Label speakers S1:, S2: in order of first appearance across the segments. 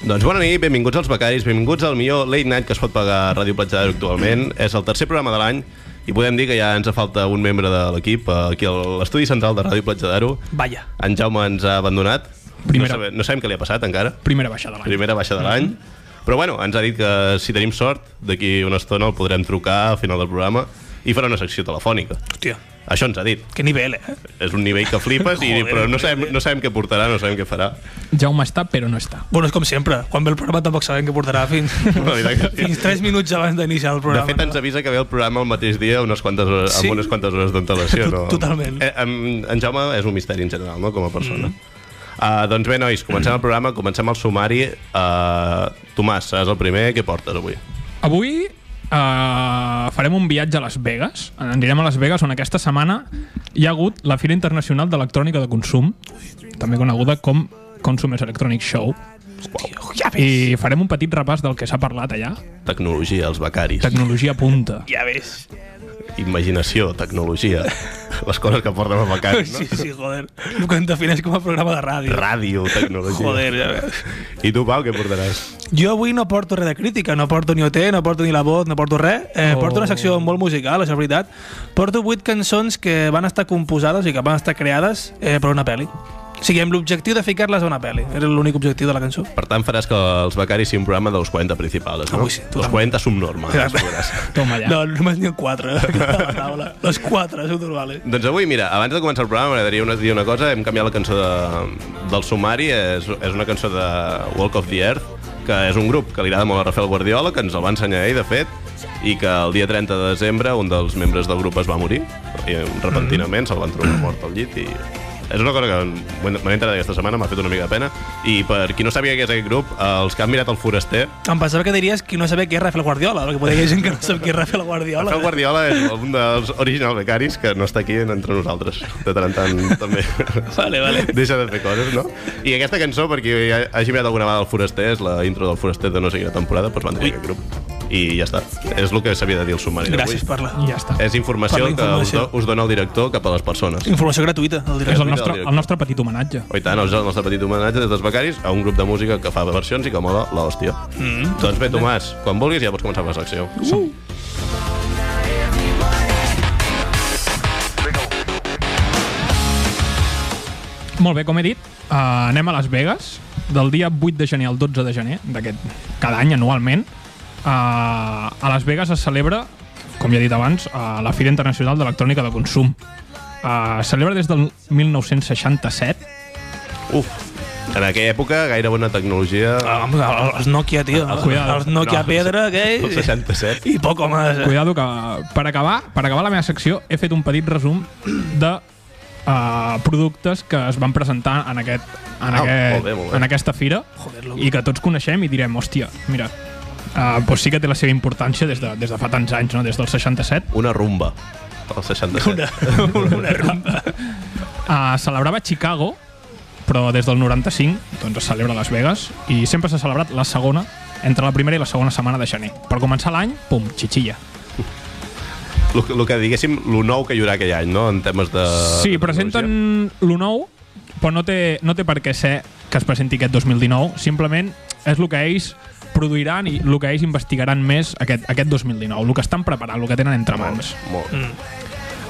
S1: Doncs bona nit, benvinguts als becaris, benvinguts al millor late night que es pot pagar a Ràdio Platja d'Aro actualment. És el tercer programa de l'any i podem dir que ja ens falta un membre de l'equip eh, aquí a l'estudi central de Ràdio Platja d'Aro.
S2: Vaya.
S1: En Jaume ens ha abandonat.
S2: Primera- Mm-hmm.
S1: No, sabem, no sabem què li ha passat encara.
S2: Primera baixada de l'any.
S1: Primera baixa de l'any. Però bueno, ens ha dit que si tenim sort, d'aquí una estona el podrem trucar al final del programa i farà una secció telefònica.
S2: Hòstia,
S1: Això ens ha dit.
S2: que nivell, eh?
S1: És un nivell que flipes, i,
S2: Joder,
S1: però no sabem, no sabem què portarà, no sabem què farà.
S3: Jaume està, però no està.
S2: Bueno, és com sempre. Quan ve el programa tampoc sabem què portarà fins,
S1: La veritat que sí.
S2: fins 3 minuts abans d'iniciar el
S1: De
S2: programa.
S1: fet, ens avisa que ve el programa el mateix dia unes quantes hores,
S2: Sí.
S1: amb unes quantes hores d'antelació. No?
S2: Totalment.
S1: Eh, en, en Jaume és un misteri en general, no?, com a persona. Mm -hmm. uh, doncs bé, nois, comencem el programa, comencem el sumari. Uh, Tomàs, seràs el primer. Què portes avui?
S3: Avui uh, farem un viatge a Las Vegas. Anirem a Las Vegas on aquesta setmana hi ha hagut la Fira Internacional d'Electrònica de Consum, també coneguda com Consumers Electronic Show.
S2: Tio, ja ves.
S3: I farem un petit repàs del que s'ha parlat allà.
S1: Tecnologia, els becaris. Tec
S3: Tecnologia punta.
S2: Ja ves.
S1: Imaginació, tecnologia. Les coses que porten els becaris, no?
S2: Sí, sí, joder. El que em defineix com a programa de ràdio.
S1: Ràdio, tecnologia.
S2: Joder, ja ves.
S1: I tu, Pau, què portaràs?
S2: Jo avui no porto res de crítica, no porto ni OT, no porto ni la vot, no porto res. Eh,
S3: Oh.
S2: Porto una secció molt musical, és la veritat. Porto vuit cançons que van estar composades i que van estar creades eh, per una pel·li. O sigui, amb l'objectiu de ficar-les a una pel·li. Era l'únic objectiu de la cançó.
S1: Per tant, faràs que els becaris sigui un programa dels 40 principals, no?
S2: Avui sí,
S1: dels
S2: totalment.
S1: 40 subnormals.
S2: Ja.
S1: podràs.
S3: Toma allà.
S2: No, només n'hi ha quatre eh, a la taula. Les quatre, són normals.
S1: Doncs avui, mira, abans de començar el programa m'agradaria una- dir una cosa, hem canviat la cançó de, del sumari, és, és una cançó de Walk of the Earth, que és un grup que li agrada molt a Rafael Guardiola, que ens el va ensenyar ell, de fet, i que el dia 30 de desembre un dels membres del grup es va morir, i repentinament se'l van trobar mort al llit, i és una cosa que m'he- m'he enterat aquesta setmana, m'ha fet una mica de pena, i per qui no sàpiga què és aquest grup, els que han mirat el foraster,
S2: Em pensava que diries que no sabia qui és Rafael Guardiola, perquè potser hi ha gent que no sap qui és Rafael Guardiola.
S1: Rafael Guardiola és un dels original becaris que no està aquí entre nosaltres, de tant en tant també.
S2: Vale, vale.
S1: Deixa de fer coses, no? I aquesta cançó, per qui ha- hagi mirat alguna vegada el Foraster, és la intro del Foraster de no sé quina temporada, doncs van tenir aquest grup. I ja està. És el que s'havia de dir el submarí d'avui.
S2: Gràcies per la...
S3: I ja està.
S1: És informació,
S2: per la
S1: que
S2: informació.
S1: us, do, us dona el director cap a les persones.
S2: Informació gratuïta, el
S3: És
S2: directe.
S3: el nostre, el nostre petit homenatge.
S1: Oh, i tant, és el nostre petit homenatge des dels becaris a un grup de música que fa versions i que mola l'hòstia. Mm. Doncs bé, Tomàs, quan vulguis ja pots començar amb la secció. Uh.
S3: Molt bé, com he dit, eh, anem a Las Vegas del dia 8 de gener al 12 de gener d'aquest cada any anualment. Eh, a Las Vegas es celebra, com ja he dit abans, eh, la Fira Internacional d'Electrònica de Consum. Eh, es celebra des del 1967.
S1: Uf, en aquella època gaire bona tecnologia,
S2: Ah, home, el- els Nokia, tio.
S3: cuidado.
S2: Els Nokia
S1: No,
S2: pedra, aquell.
S1: el 67.
S2: I poco más. eh?
S3: Cuidado que per acabar, per acabar la meva secció he fet un petit resum de eh, productes que es van presentar en aquest en,
S1: Ah,
S3: aquest,
S1: molt bé, molt bé.
S3: en aquesta fira
S2: Joder, loco.
S3: i que tots coneixem i direm, hòstia, mira, uh, doncs sí que té la seva importància des de, des de fa tants anys, no? des del 67.
S1: una rumba, el 67.
S2: Una, una rumba.
S3: Uh, celebrava Chicago, però des del 95 doncs, es celebra a Las Vegas i sempre s'ha celebrat la segona entre la primera i la segona setmana de gener. Per començar l'any, pum, xixilla.
S1: El que, lo que diguéssim, lo nou que hi haurà aquell any, no?, en temes de...
S3: Sí,
S1: Eh, de
S3: presenten lo nou, però no té, no té per què ser que es presenti aquest 2019. Simplement és el que ells produiran i el que ells investigaran més aquest, aquest 2019, el que estan preparant, el que tenen entre
S1: tecnologia.
S3: mans.
S1: Molt, molt.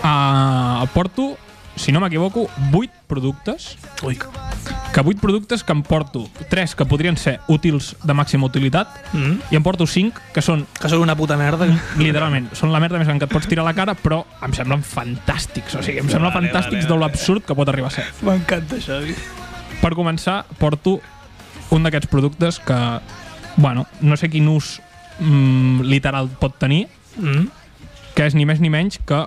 S3: Uh, porto, si no m'equivoco, 8 productes
S2: Ui.
S3: que 8 productes que em porto 3 que podrien ser útils de màxima utilitat
S2: Mm.
S3: i em porto 5 que són
S2: Que són una puta merda.
S3: literalment, són la merda més gran que et pots tirar a la cara però em semblen fantàstics o sigui, em semblen
S2: Vale,
S3: fantàstics
S2: vale,
S3: de
S2: vale.
S3: l'absurd que pot arribar a ser
S2: M'encanta això, tio.
S3: per començar, porto un d'aquests productes que, bueno, no sé quin ús mm, literal pot tenir,
S2: Mm.
S3: que és ni més ni menys que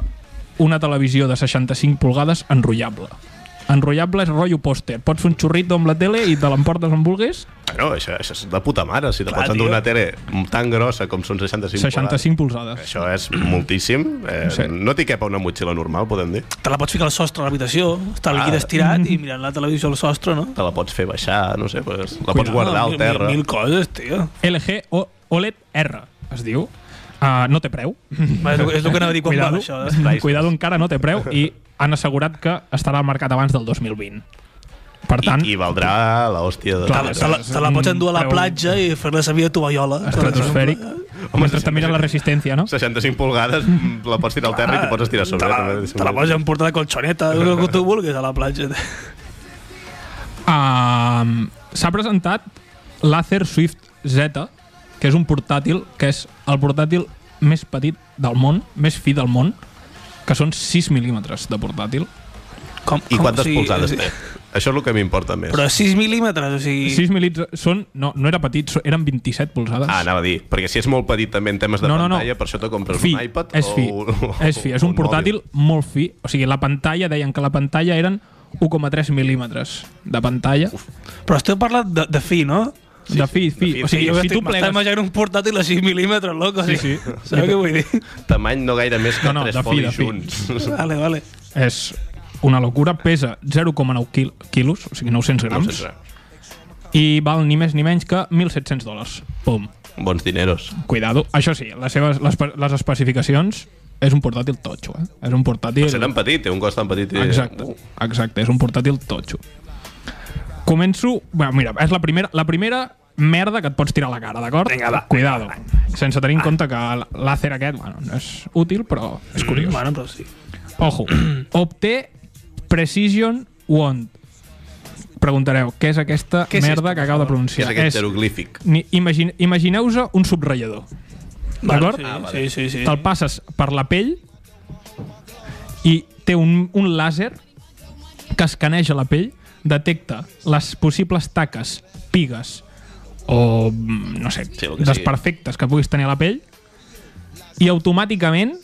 S3: una televisió de 65 polgades enrotllable. Enrotllable és rotllo pòster. Pots fer un xurrito amb la tele i te l'emportes on vulguis.
S1: Bueno, això, això és de puta mare, si te
S2: Clar,
S1: pots endur
S2: tio.
S1: una tele tan grossa com són 65 polades.
S3: 65 polzades.
S1: Això és moltíssim. Eh,
S3: Sí.
S1: No t'hi cap una motxilla normal, podem dir.
S2: Te la pots ficar al sostre a l'habitació, estar al
S1: Ah.
S2: llit estirat i mirant la televisió al sostre, no?
S1: Te la pots fer baixar, no sé, pues, la
S3: Cuidado,
S1: pots guardar
S2: Ah,
S1: al
S2: mil-
S1: terra.
S2: Mil, mil coses, tio.
S3: LG o OLED R, E es diu. Uh, no té preu.
S2: Va, és, el- és el que anava a dir quan va
S3: Cuidado.
S2: això. Eh?
S1: Priceless.
S3: Cuidado, encara no té preu i han assegurat que estarà al mercat abans del 2020. Per tant,
S1: I, I valdrà l'hòstia de...
S2: Te,
S3: Clar,
S2: la- te, la, te la pots endur a la
S3: Preu-
S2: platja i fer-la servir a tovallola.
S3: estratosfèric. Home, mentre te mira la resistència, no?
S1: 65 pulgades, mm, la pots tirar al terra i t'hi pots estirar a sobre. eh,
S2: Te la,
S1: també,
S2: te la pots emportar de colxoneta, el que tu vulguis a la platja.
S3: Um, S'ha presentat l'Acer Swift Z, que és un portàtil que és el portàtil més petit del món, més fi del món, que són 6 mil·límetres de portàtil.
S2: Com,
S1: I quantes
S2: sigui,
S1: polzades
S2: sí.
S1: té? Això és el que m'importa més.
S2: Però 6 mil·límetres, o sigui...
S3: 6 mil·límetres són... No, no era petit, so- eren 27 polzades.
S1: Ah, anava a dir, perquè si és molt petit també en temes de
S3: No, no, no.
S1: pantalla, per això te compres
S3: fi,
S1: un iPad
S3: és fi,
S1: o, un-
S3: és fi, és
S1: o
S3: un portàtil molt fi. O sigui, la pantalla, deien que la pantalla eren 1,3 mil·límetres de pantalla. Uf,
S2: Però esteu parlant de, de fi, no?
S3: de fi, fi.
S1: fi,
S3: o sigui,
S2: jo
S3: si tu
S2: m'estic
S3: plegues...
S2: imaginant un portàtil a 6 mil·límetres, loco.
S3: Sí,
S2: sí.
S3: sí.
S2: Saps què vull dir?
S1: mòbil. Tamany no gaire més que
S3: No, no,
S1: tres
S3: de fi, de
S1: folis
S3: fi.
S1: junts.
S2: Vale, vale.
S3: És una locura, pesa 0,9 quil quilos, o sigui 900 grams,
S1: 900 grams.
S3: i val ni més ni menys que 1.700 dòlars. Pum.
S1: Bons dineros.
S3: Cuidado. Això sí, les, seves, les, pe- les especificacions és un portàtil totxo, eh? És un portàtil...
S1: Per ser tan petit, té un cos tan petit. i-
S3: Exacte,
S1: Uh,
S2: eh?
S3: exacte, és un portàtil totxo. Començo... Bueno, mira, és la primera, la primera merda que et pots tirar a la cara, d'acord?
S2: Vinga, va.
S3: Cuidado. Sense tenir en compte que l'àcer aquest, bueno, no és útil, però és curiós.
S2: Bueno, però sí.
S3: Ojo. Obté Precision Wand. Preguntareu, què és aquesta
S2: Què és
S3: merda
S2: esto,
S3: que acabo de
S1: que és
S3: pronunciar?
S1: aquest jeroglífic.
S3: ni- imagine- Imagineu-vos un subratllador.
S2: Vale,
S3: D'acord?
S2: sí, ah, vale. sí, sí, sí.
S3: Te'l passes per la pell i té un, un làser que escaneja la pell, detecta les possibles taques, pigues o, mm, no sé,
S1: Sí, el que sigui.
S3: desperfectes que puguis tenir a la pell i automàticament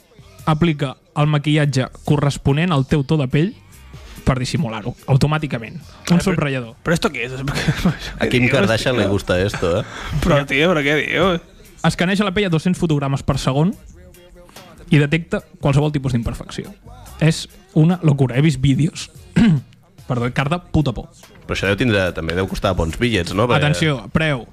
S3: aplica el maquillatge corresponent al teu to de pell per dissimular-ho, automàticament. Un subratllador.
S2: Però esto què és?
S1: A Kim Kardashian li gusta esto, eh?
S2: Però, tio, però què dius?
S3: Escaneja la pell a 200 fotogrames per segon i detecta qualsevol tipus d'imperfecció. És una locura. He vist vídeos perdó, que carda puta por.
S1: Però això deu tindre, també deu costar bons bitllets, no? Perquè-
S3: Atenció, preu.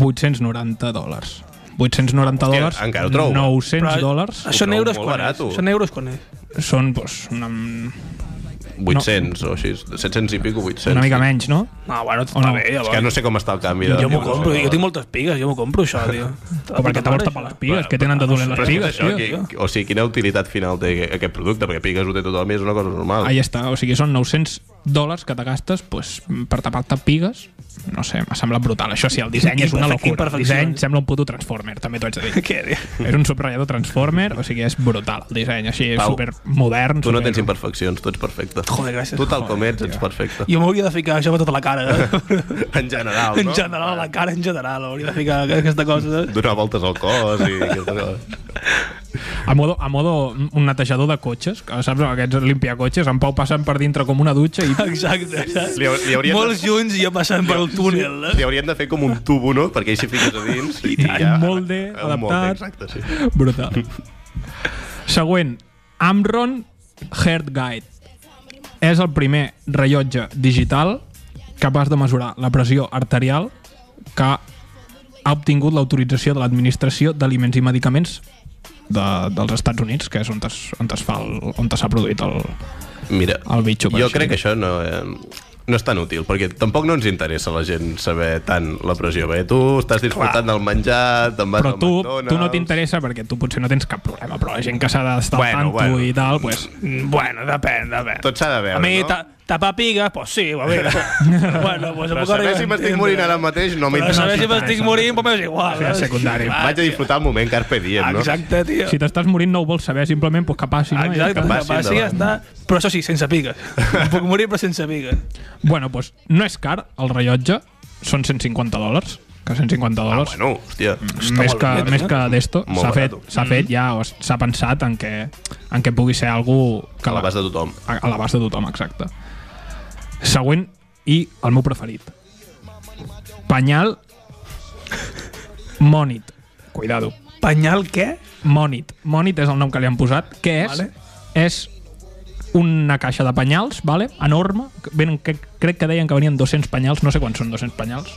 S3: 890 dòlars. 890
S1: Hòstia,
S3: dòlars,
S1: encara ho trobo.
S3: 900 dòlars,
S2: Això en
S1: trobo
S2: euros
S1: molt
S2: quan és?
S1: barato.
S2: Això en euros quan és?
S3: són pues, una, una
S1: 800 o així, 700 i pico, 800.
S3: mica menys, no?
S2: No, bueno, tot
S3: O
S2: està
S3: no?
S2: bé,
S1: És
S2: llavors.
S1: que no sé com està el canvi. de-
S2: Jo
S1: no
S2: m'ho
S1: sé
S2: compro,
S1: com
S2: jo
S1: va.
S2: tinc moltes pigues, jo m'ho compro això, tio. Tota
S3: O perquè te vols tapar les pigues, que tenen de dolent les
S1: Però és que és
S3: pigues,
S1: això,
S3: tio.
S1: qui, o sigui, quina utilitat final té aquest producte? Perquè pigues ho té tothom i és una cosa normal.
S3: Ahí està, o sigui, són 900 dòlars que te gastes pues, per tapar-te pigues. No sé, m'ha semblat brutal. Això sí, el disseny és una
S2: Imperfec-
S3: locura. El
S2: imperfecció.
S3: disseny sembla un puto Transformer, també t'ho haig de dir.
S2: Què dius?
S3: és un subratllador Transformer, o sigui, és brutal el disseny. Així, és
S1: Pau,
S3: supermodern.
S1: Tu no tens
S3: super...
S1: imperfeccions, tu ets perfecte.
S2: Joder, gràcies.
S1: Tu tal com ets, ets perfecte.
S2: Jo m'hauria de ficar això per tota la cara, eh?
S1: En general, no?
S2: en general, a la cara en general, hauria de ficar aquesta cosa. eh? saps?
S1: Donar voltes al cos i... aquestes coses.
S3: A modo, a modo un netejador de cotxes, que saps, aquests limpiacotxes, en Pau passen per dintre com una dutxa i...
S2: Exacte, saps?
S1: Li hau- li hauria de-
S2: Molts junts i jo passant pel túnel, eh?
S1: Li haurien de fer com un tubo, no? Perquè així fiques a dins i,
S3: I un molde
S1: Un molde, exacte,
S3: adaptat.
S1: sí.
S3: Brutal. Següent, Amron Heart Guide. És el primer rellotge digital capaç de mesurar la pressió arterial que ha obtingut l'autorització de l'Administració d'Aliments i Medicaments de, dels Estats Units, que és on es, on es fa el, on s'ha produït el...
S1: Mira,
S3: El bitxo, per
S1: jo
S3: així.
S1: crec que això no, eh, no és tan útil, perquè tampoc no ens interessa la gent saber tant la pressió. Bé, tu estàs disfrutant del menjar, te'n vas
S3: Però
S1: al
S3: tu,
S1: McDonald's...
S3: tu no t'interessa perquè tu potser no tens cap problema, però la gent que s'ha d'estar
S1: Bueno,
S3: bueno, bueno.
S1: bueno.
S3: i tal, pues,
S2: Bueno, depèn, depèn.
S1: Tot s'ha de veure,
S2: A mi,
S1: no?
S2: ta- tapar pigues, pues sí, a veure. bueno, pues...
S1: Però saber si m'estic morint ara mateix no
S2: Però
S1: m'interessa.
S2: eh, saber si m'estic morint, pues m'és igual.
S3: Sí,
S2: eh?
S3: secundari.
S2: Ah,
S1: Vaig a disfrutar el moment, carpe diem, no?
S2: Exacte, tio.
S3: si t'estàs morint no ho vols saber, simplement pues, que passi. No? I
S2: Exacte,
S3: que
S1: passi
S2: que passi, ja està.
S1: endavant.
S2: Però això sí, sense pigues. Em puc morir, però sense pigues.
S3: Bueno, doncs no és car el rellotge, són 150 dòlars, que 150
S1: Ah,
S3: dòlars.
S1: bueno, hòstia.
S3: més,
S2: molt
S3: que,
S2: bé,
S3: més
S2: eh?
S3: que d'esto,
S1: Molt
S3: s'ha fet,
S1: barato. Mm.
S3: s'ha fet ja, o s- s'ha pensat en que, en que pugui ser algú
S1: A
S3: que
S1: l'abast de tothom.
S3: a, a l'abast de tothom, exacte. Següent, i el meu preferit. Penyal Monit. Cuidado.
S2: Penyal què?
S3: Monit. Monit és el nom que li han posat. Què és?
S2: Vale.
S3: És una caixa de penyals, vale? enorme. que Venen, que, crec que deien que venien 200 penyals. No sé quants són 200 penyals.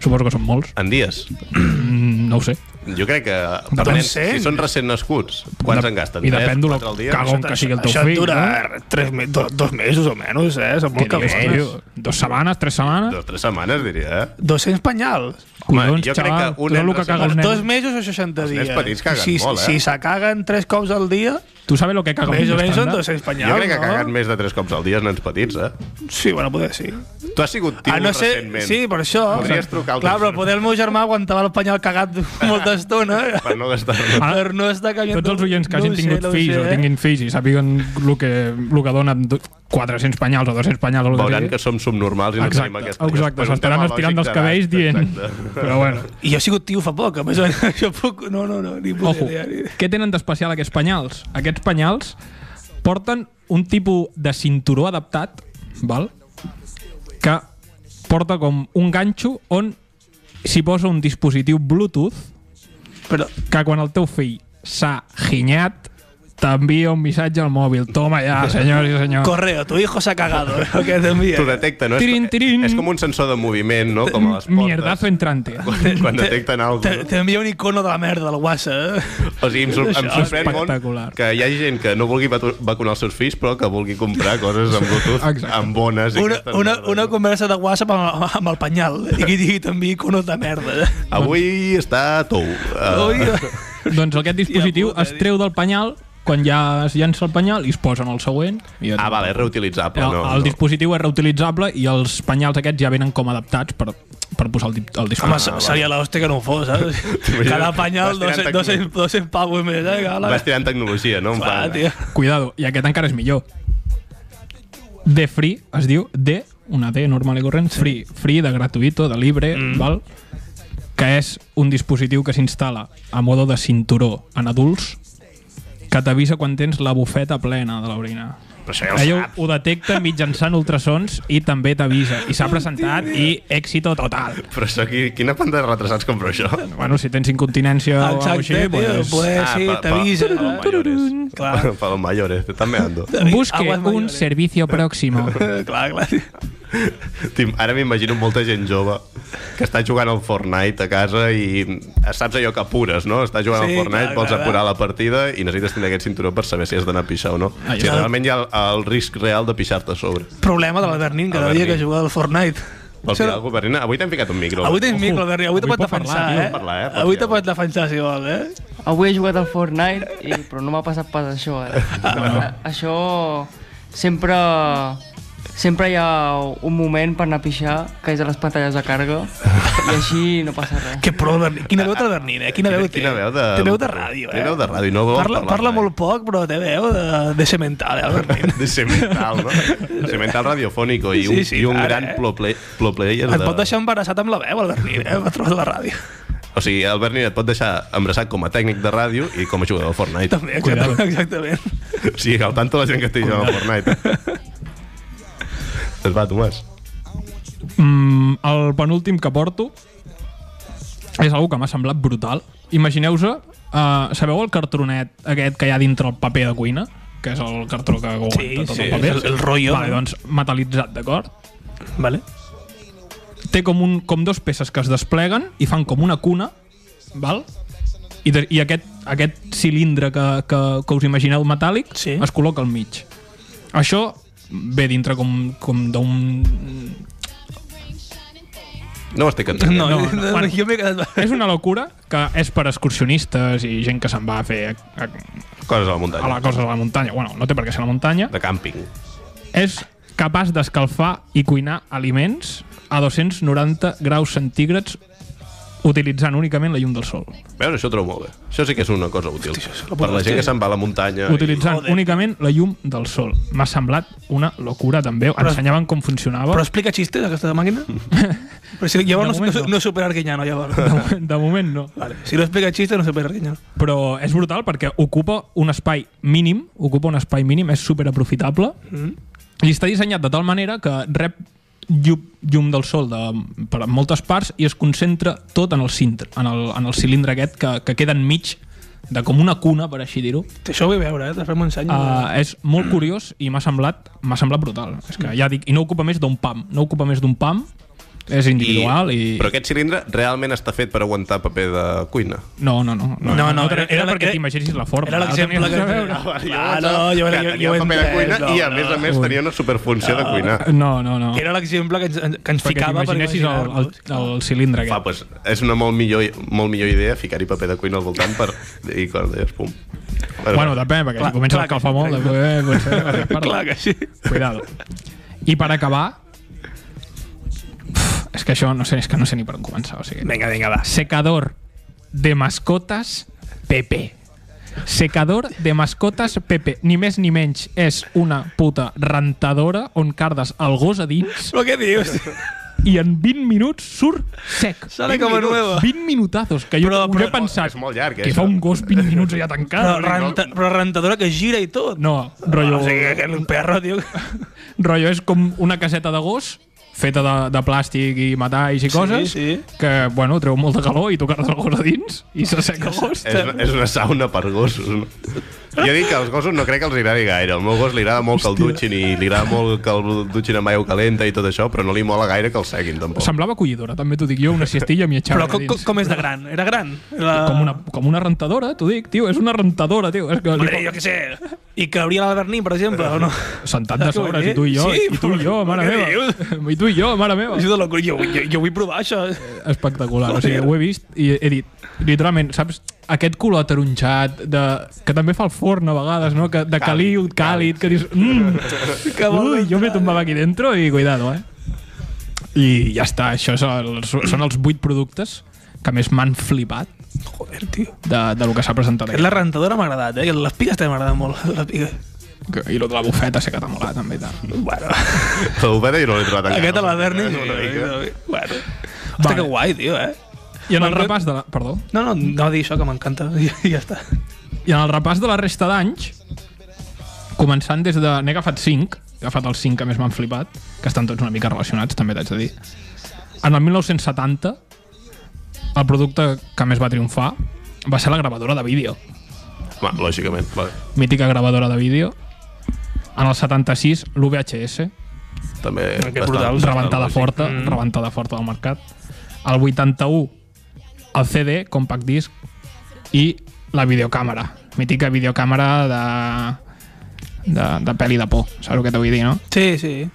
S3: Suposo que són molts.
S1: En dies.
S3: Mm, no ho sé.
S1: Jo crec que... Per
S3: Depèn
S1: nens,
S2: cent.
S1: si són recent nascuts, quants
S3: Dep-
S1: en gasten?
S3: I depèn de lo
S1: Quatre al dia?
S3: cagón que sigui el teu
S2: Això et
S3: fill.
S2: dura
S3: no?
S2: tres, me- do, dos mesos o menys, eh? Són molt
S3: Què dius,
S2: cabrones.
S3: tio? Dos setmanes, tres setmanes?
S1: Dos, tres setmanes, diria, eh?
S2: 200 penyals.
S1: Home,
S3: Collons,
S1: jo crec que
S3: xaval,
S1: un
S3: tu,
S1: nen
S3: el que
S1: recent-
S3: caga
S2: Per
S3: el
S2: dos
S3: nen.
S2: mesos o 60
S1: Els
S2: dies.
S1: nens petits caguen
S2: si,
S1: molt, eh?
S2: si se caguen tres cops al dia,
S3: Tu sabes lo que caga un
S2: més o
S3: nen
S2: menys són
S3: estàndard?
S2: 200 penyals,
S1: Jo crec que
S2: no?
S1: caguen més de tres cops al dia els nens petits, eh?
S2: Sí, bueno, poder sí.
S1: Tu has sigut tio
S2: Ah, no sé,
S1: recentment.
S2: sí, per això.
S1: Podries trucar al
S2: Clar, però
S1: telèfon.
S2: poder el meu germà aguantava el penyal cagat molta estona.
S1: Per no gastar-lo.
S3: Ara-
S2: per no estar caient...
S3: Tots els oients que hagin
S2: ho sé,
S3: tingut
S2: ho
S3: fills
S2: sé,
S3: o
S2: eh?
S3: tinguin fills i sàpiguen el que, el que donen do- 400 penyals o 200 penyals o el
S1: Veuran
S3: sigui.
S1: que som subnormals i no
S3: Ah, Exacte,
S1: tenim aquesta...
S3: exacte, s'estaran estirant dels cabells dient... Però bueno,
S2: I jo he sigut tio fa poc, a més, jo puc... No, no, no, ni puc...
S3: ojo, què tenen d'especial aquests penyals? Aquests penyals porten un tipus de cinturó adaptat, val? que porta com un ganxo on s'hi posa un dispositiu Bluetooth
S2: Però,
S3: que quan el teu fill s'ha ginyat t'envia un missatge al mòbil. Toma ja, senyors i senyors.
S2: correo, tu hijo se ha cagado, el que t'envia.
S1: T'ho detecta, no? És,
S3: Tirin, tirin.
S1: és com un sensor de moviment, no? Com a les portes.
S3: Mierdazo entrante.
S1: Quan, quan detecten alguna
S2: Te-
S1: cosa.
S2: T'envia un icono de la merda, del WhatsApp, eh?
S1: O sigui, em, sor em
S2: Això és
S1: sorprèn
S3: espectacular.
S1: molt que hi hagi gent que no vulgui vatu- vacunar els seus fills, però que vulgui comprar coses amb Bluetooth,
S3: Exacte.
S1: amb bones... i
S2: Una,
S1: aquestes
S2: una,
S1: merdes,
S2: una
S1: no?
S2: conversa de WhatsApp amb, amb el penyal i que digui també iconos de merda.
S1: Avui està tou.
S2: Ui,
S1: Uh,
S3: doncs aquest dispositiu
S2: puta,
S3: es treu del penyal quan ja es llança el penyal i es posa en el següent. I et-
S1: ah, vale, és reutilitzable.
S3: el,
S1: No,
S3: el
S1: no.
S3: dispositiu és reutilitzable i els penyals aquests ja venen com adaptats per, per posar el, di- el
S2: Home,
S3: dispositiu.
S2: ah, seria l'hòstia que no ho fos, saps? Cada penyal
S1: Vas tirant
S2: 200, 200, 200 pavos més, eh? Que la...
S1: Vas tirant tecnologia, no? En
S2: Va,
S1: plan,
S2: tio.
S3: Cuidado, i aquest encara és millor. De free es diu de, una D normal i corrent, free, free de gratuïto, de libre, mm. val? que és un dispositiu que s'instal·la a modo de cinturó en adults que t'avisa quan tens la bufeta plena de l'orina.
S1: Però això ja ho
S3: Ell ho,
S1: sap.
S3: ho detecta mitjançant ultrasons i també t'avisa. I s'ha presentat i èxito total.
S1: Però això, qui, quina panda de retrasats compra això?
S3: Bueno, si tens incontinència o alguna
S2: Exacte,
S3: Ah, així,
S2: tio,
S3: pues,
S2: pues, sí,
S1: pa- pa-
S2: t'avisa. eh?
S1: pa los mayores.
S2: Clar.
S1: Pa los mayores, te estás meando.
S3: busque
S2: Aguas
S3: un
S2: mayores. Eh,
S3: servicio próximo.
S2: clar, clar.
S1: Tim, Ara m'imagino molta gent jove que està jugant al Fortnite a casa i saps allò que apures, no? Està jugant
S2: Sí,
S1: al Fortnite,
S2: clar,
S1: vols
S2: clar,
S1: apurar la partida i necessites tenir aquest cinturó per saber si has d'anar a pixar o no.
S3: Ah,
S1: Ah, si
S3: ja.
S1: realment hi ha el, el risc real de pixar-te a sobre.
S2: Problema de l'Albert Nin, cada
S1: Albert
S2: dia que
S1: Nin.
S2: juga al Fortnite.
S1: Vols
S2: Això-
S1: dir alguna cosa, Berlina? Avui t'hem ficat un micro.
S2: Avui tens micro, Albert Nin, avui te
S3: avui
S2: pots
S3: pot parlar,
S2: defensar,
S3: tio,
S2: eh?
S1: pot parlar, eh? Pot
S2: Avui
S1: dir
S2: te
S1: alguna
S2: pots defensar, si vols, eh?
S4: Avui he jugat al Fortnite, i, però no m'ha passat pas això. Ara. No. Això sempre... Sempre hi ha un moment per anar a pixar, que és a les pantalles de carga, i així no passa res.
S2: Que pro Albert Nin. Quina veu té l'Albert Nin, eh? Quina veu té?
S1: quina veu de...
S2: Té veu de ràdio, eh?
S1: Té veu de ràdio, no vol
S2: Parla,
S1: parlar
S2: parla
S1: mai.
S2: molt poc, però té veu de, de semental, eh, Albert Nin.
S1: De semental, no? semental radiofònico i
S2: Sí,
S1: un,
S2: sí,
S1: i un
S2: clar,
S1: gran
S2: eh?
S1: pro, play, pro player
S2: Et
S1: de...
S2: pot deixar embarassat amb la veu, Albert Nin, eh? A través de la ràdio.
S1: O sigui, el Berni et pot deixar embarassat com a tècnic de ràdio i com a jugador de Fortnite.
S2: També, exactament. exactament.
S1: O sigui, al tanto la gent que estigui jugant a Fortnite. Et va, Tomàs.
S3: Mm, el penúltim que porto és algo que m'ha semblat brutal. Imagineu-vos, uh, sabeu el cartronet aquest que hi ha dintre el paper de cuina? Que és el cartró que aguanta
S2: Sí,
S3: tot
S2: sí,
S3: el paper.
S2: és el- el rotllo,
S3: Vale,
S2: no?
S3: doncs metalitzat, d'acord?
S2: Vale.
S3: Té com, un, com dos peces que es despleguen i fan com una cuna, val? I, de, i aquest, aquest cilindre que, que, que us imagineu metàl·lic
S2: Sí.
S3: es col·loca al mig. Això ve dintre com, com d'un
S1: No m'estic entenent.
S2: No, no,
S3: no,
S2: no,
S3: bueno.
S2: jo m'he quedat...
S3: És una locura que és per excursionistes i gent que se'n va a fer a, a,
S1: Coses a la
S3: a
S1: muntanya.
S3: la cosa de la muntanya. Bueno, no té per què ser la muntanya.
S1: De càmping.
S3: És capaç d'escalfar i cuinar aliments a 290 graus centígrads utilitzant únicament la llum del sol.
S1: Veus, això ho trobo molt bé. Això sí que és una cosa útil. Per la gent que se'n va a la muntanya.
S3: Utilitzant
S2: Joder.
S3: únicament la llum del sol. M'ha semblat una locura, també. Ensenyaven com
S2: Però
S3: funcionava.
S2: explica xistes, aquesta màquina? Però si, llavors
S3: De
S2: no,
S3: moment
S2: no,
S3: no.
S2: no supera Arguiñano, llavors.
S3: De, mo- de moment no.
S2: Vale. Si no explica xistes, no supera Arguiñano.
S3: Però és brutal perquè ocupa un espai mínim, ocupa un espai mínim, és superaprofitable.
S2: Mm?
S3: I està dissenyat de tal manera que rep llum, llum del sol de, per moltes parts i es concentra tot en el cintre, en el, en el cilindre aquest que, que queda enmig de com una cuna, per així dir-ho.
S2: Això ho vull veure, eh? Després m'ho ensenyo.
S3: Uh, és molt curiós i m'ha semblat m'ha semblat brutal. És que ja dic, i no ocupa més d'un pam, no ocupa més d'un pam És individual i...
S1: Però aquest cilindre realment està fet per aguantar paper de cuina.
S3: No, no, no. No,
S2: No, no,
S3: era,
S2: era
S3: era perquè
S2: era-
S3: t'imaginessis la forma.
S2: Era l'exemple que...
S3: que...
S2: Ah, no,
S1: que
S2: jo, jo,
S1: tenia
S2: jo ho he
S1: paper de cuina
S2: entès. no,
S1: i, a
S2: no.
S1: més a més, tenia una superfunció de cuinar.
S3: No, no, no.
S2: Era l'exemple que ens, que ens
S3: Perquè
S2: ficava per
S3: t'imaginessis el, el,
S2: imaginar-nos.
S3: el cilindre
S1: Fa,
S3: aquest.
S1: pues, és una molt millor, molt millor idea ficar-hi paper de cuina al voltant per... i quan deies, pum. Però,
S3: Bueno, depèn, perquè
S2: Clar,
S3: si comença
S2: clar
S3: a
S2: que-
S3: escalfar molt, després potser...
S2: Clar que sí.
S3: Cuidado. I per acabar... Uf, És que això, no sé, és que no sé ni per on començar. O sigui,
S2: Vinga, vinga, va.
S3: secador de mascotas PP. Secador de mascotas PP. Ni més ni menys és una puta rentadora on cardes el gos a dins
S2: Però què dius?
S3: i en 20 minuts surt sec.
S2: Sale
S3: 20
S2: com a
S3: minuts.
S2: nueva.
S3: 20 minutazos, que jo
S2: Però-
S3: però,
S2: però-
S3: però, he pensat
S1: és molt llarg, eh,
S3: que fa
S1: això.
S3: un gos 20 minuts allà
S2: Però,
S3: tancat.
S2: renta, però rentadora que gira i tot.
S3: No, rotllo,
S2: O sigui, que un perro, tio.
S3: rotllo és com una caseta de gos feta de, de plàstic i metalls i coses
S2: sí.
S3: que, bueno, treu molta calor i tu cardes el gos a dins i s'asseca el gos.
S1: És, és una sauna per gossos. no? Jo dic que als gossos no crec que els agradi gaire. El meu gos li agrada molt que el dutxin i li agrada molt que el dutxin amb aigua calenta i tot això, però no li mola gaire que el seguin, tampoc.
S3: Semblava collidora, també t'ho dic jo, una siestilla amb
S2: Però
S3: mitjana
S2: com, com, com és de gran? Era gran? La...
S3: com, una, com una rentadora, t'ho dic, tio, és una rentadora, tio. És que li
S2: Hombre, jo què sé. I cabria l'Albert Nin, per exemple, o no?
S3: Sentat de
S2: Ah, que
S3: sobres,
S2: bé.
S3: i tu i jo,
S2: Sí,
S3: i tu i jo,
S2: però-
S3: mare
S2: què
S3: meva. I tu i jo, mare meva.
S2: Això de locura. Jo, jo, jo vull provar això.
S3: Espectacular, o sigui, ho he vist i he dit, literalment, saps, aquest color ataronjat, de, que també fa el forn a vegades, no? Que, de caliu, càlid, que dius... Mm,
S2: Que eh?" vol
S3: ui, jo me tombava aquí dentro i cuidado, eh? I ja està, això és el, són els vuit productes que més m'han flipat
S2: Joder, tio.
S3: de, de lo que s'ha presentat aquí.
S2: La rentadora m'ha agradat, eh? Les piques també m'agraden molt. Les piques.
S3: Que- I lo de la bufeta sé que t'ha molat, també. i Tal.
S2: Bueno,
S1: La bufeta jo no l'he trobat encara.
S2: aquest a eh, l'Albert Nin.
S1: Una mica.
S2: Bueno. Hosta, que guai, tio, eh?
S3: I en el
S2: Me'n-
S3: repàs de la... Perdó.
S2: No, no, no dir això, que m'encanta. I, I ja està.
S3: I en el repàs de la resta d'anys, començant des de... N'he agafat 5, he agafat els 5 que més m'han flipat, que estan tots una mica relacionats, també t'haig de dir. En el 1970, el producte que més va triomfar va ser la gravadora de vídeo.
S1: Va, lògicament. Va,
S3: Mítica gravadora de vídeo. En el 76, l'VHS,
S1: també
S2: Ah, Que brutal.
S3: rebentada
S1: lògic.
S3: forta,
S2: Mm.
S3: rebentada forta del mercat. El 81, el CD, compact disc, i la videocàmera. Mítica videocàmera de, de, de pel·li de por, saps el que t'ho vull dir, no?
S2: Sí, sí.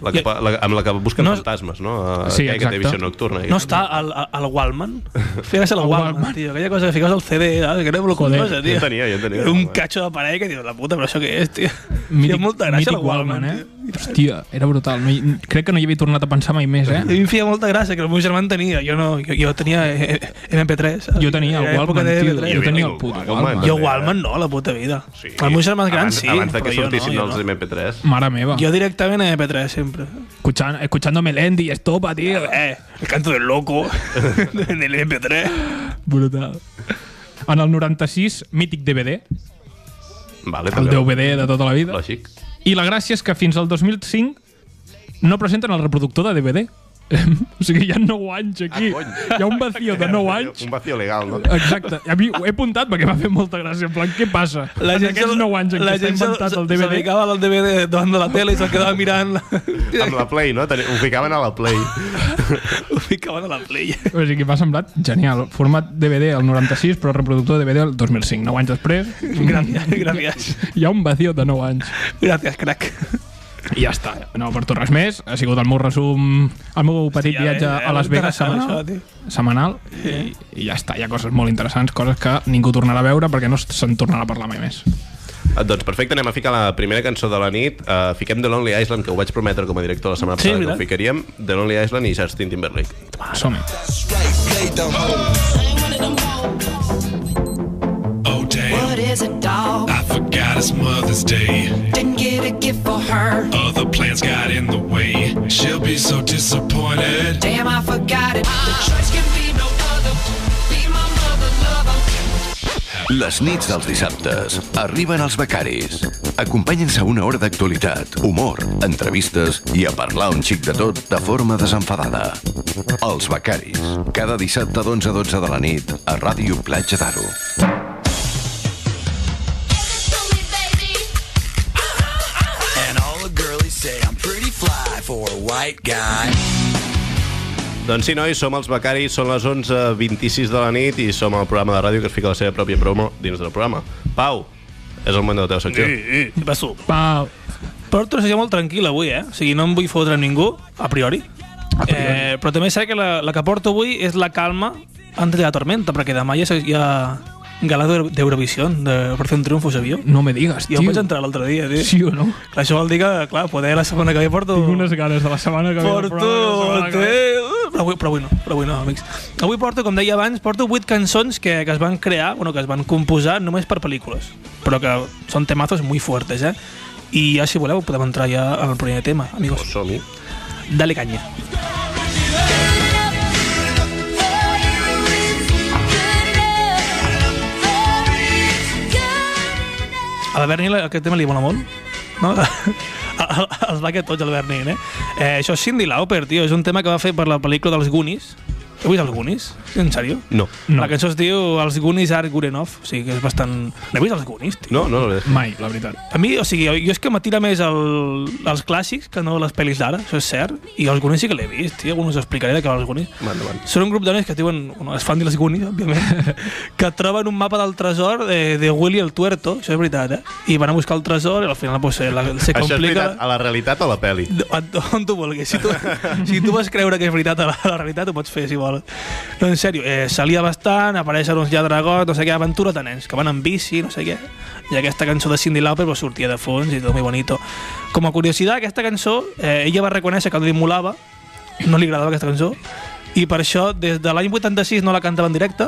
S1: La que, pa- la, amb la que busquen
S2: No-
S1: no, fantasmes, no? Eh,
S3: Sí,
S1: aquella Que
S3: exacte.
S1: té visió nocturna.
S2: No està al, al- al Wallman? Fes el Wallman,
S3: Wallman.
S2: tio. Aquella cosa que fiques al CD, saps? Que era molt
S3: Joder,
S1: Jo
S2: curiosa, tio.
S1: en tenia, jo en tenia.
S2: Era un catxo de parell que dius, la puta, però això què és, tio? Mític, feia molta gràcia el Wallman, eh?
S3: eh? Hòstia, era brutal. No, hi- crec que no hi havia tornat a pensar mai més,
S2: A mi
S3: eh?
S2: em feia molta gràcia, que el meu germà en tenia. Jo no, jo, jo tenia eh, eh, MP3. saps?
S3: Jo tenia el
S2: Era època
S3: Wallman,
S2: de
S3: tio.
S2: MP3.
S3: Jo tenia el
S1: Wallman,
S3: puto
S1: Wallman.
S3: Wallman.
S2: Jo Wallman no, la puta vida. Sí. El meu germà gran
S1: eh? abans,
S2: sí,
S1: Abans de
S2: però
S1: que
S2: jo
S1: sortissin
S2: no,
S1: els
S2: jo no.
S1: MP3.
S3: Mare meva.
S2: Jo directament a MP3, sempre.
S3: Escuchant, escuchando Melendi, estopa, tio.
S2: Eh, el canto del loco, en el MP3.
S3: Brutal. En el 96, mític DVD,
S2: Mm.
S1: Vale,
S3: el
S1: també.
S3: DVD de tota la vida.
S1: Lògic.
S3: I la gràcia és que fins al 2005 no presenten el reproductor de DVD. o sigui, hi ha 9 anys aquí.
S1: Ah, cony.
S3: hi ha un vacío de 9 anys.
S1: Un vacío legal, no?
S3: Exacte. A mi ho he apuntat perquè m'ha fet molta gràcia. En plan, què passa? La en aquests 9 anys en què s'ha
S2: se-
S3: inventat el
S2: se- Se
S3: DVD...
S2: dedicava al DVD davant de la tele i se'l quedava mirant.
S1: Amb la Play, no? Teni- Ho ficaven a la Play.
S2: Ho ficaven a la play.
S3: O sigui, m'ha semblat genial. Format DVD al 96, però reproductor de DVD al 2005. 9 anys després,
S2: Gràcies, gràcies.
S3: hi ha un vacío de 9 anys.
S2: Gràcies, crac.
S3: I ja està. No porto res més. Ha sigut el meu resum, el meu petit
S2: ja
S3: viatge
S2: ves, eh?
S3: a Las Vegas
S2: Interessant,
S3: setmanal.
S2: això, tio.
S3: setmanal i, i ja està. Hi ha coses molt interessants, coses que ningú tornarà a veure perquè no se'n tornarà a parlar mai més.
S1: Ah, Doncs perfecte, anem a ficar la primera cançó de la nit. Uh, fiquem The Lonely Island, que ho vaig prometre com a director la setmana
S2: Sí,
S1: passada que
S2: veritat.
S1: ho ficaríem. The Lonely Island i Justin Timberlake.
S3: Som-hi.
S5: Oh damn,
S6: What is a dog?
S5: I forgot it's Mother's Day.
S6: Didn't get a gift for her.
S5: Other plans got in the way. She'll be so disappointed.
S6: Damn, I forgot it.
S7: Les nits dels dissabtes arriben els becaris. Acompanyen-se a una hora d'actualitat, humor, entrevistes i a parlar un xic de tot de forma desenfadada. Els becaris. Cada dissabte d'11 a 12 de la nit a Ràdio Platja d'Aro.
S8: And all the girlies say I'm pretty fly for a white guy.
S1: Doncs sí, nois, som els becaris, són les 11.26 de la nit i som al programa de ràdio que es fica la seva pròpia promo dins del programa. Pau, és el moment de la teva secció.
S2: Què passo?
S3: Pau.
S2: Porto una sessió molt tranquil avui, eh? O sigui, no em vull fotre amb ningú, a priori. Eh, però també sé que la, la que porto avui és la calma antes de la tormenta, perquè demà ja hi ha gala d'Euro- d'Eurovisió, de, per fer un triomfo, sabíeu?
S3: No me digas,
S2: Jo
S3: tio.
S2: vaig entrar l'altre dia, tio.
S3: Sí o no?
S2: Clar, això vol dir que, clar, poder la setmana que ve porto...
S3: Tinc unes ganes de la setmana que ve. del
S2: Porto,
S3: programa, de la setmana que ve.
S2: té... eh? Però avui, però avui no, però avui no, amics. Avui porto, com deia abans, porto vuit cançons que, que es van crear, bueno, que es van composar només per pel·lícules, però que són temazos muy fuertes, eh? I ja, si voleu, podem entrar ja al primer tema, amigos.
S1: Som-hi.
S2: Dale caña. A la Berni la- aquest tema li mola molt, no? El- Els va que tots, el Berni, eh? eh? Això és Cindy Lauper, tio. És un tema que va fer per la pel·lícula dels Goonies. Heu vist els Goonies? En sèrio?
S1: No.
S3: No.
S2: La cançó es diu Els Goonies are good enough. O sigui, que és bastant... L'heu vist els Goonies, tio?
S1: No, no, no.
S3: Mai, la veritat.
S2: A mi, o sigui, jo, jo és que m'atira més el, els clàssics que no les pel·lis d'ara, això és cert. I els Goonies sí que l'he vist, tio, alguns us explicaré de què van els Goonies.
S1: Va, endavant.
S2: Són un grup de nois que es diuen, bueno, es fan dir les Goonies, òbviament, que troben un mapa del tresor de, de Willy el Tuerto, això és veritat, eh? I van a buscar el tresor i al final pues, eh, la, se
S1: Això és
S2: complica...
S1: veritat, a la realitat o a la peli?
S2: On, on tu vulguis. Si tu, si tu vas creure que és veritat a la, a la realitat, ho pots fer, si vols. No, en sèrio, eh, salia bastant, apareixen uns lladregots, no sé què, aventura de nens, que van en bici, no sé què. I aquesta cançó de Cindy Lauper pues, sortia de fons i tot muy bonito. Com a curiositat, aquesta cançó, eh, ella va reconèixer que li molava, no li agradava aquesta cançó, i per això des de l'any 86 no la cantava en directe,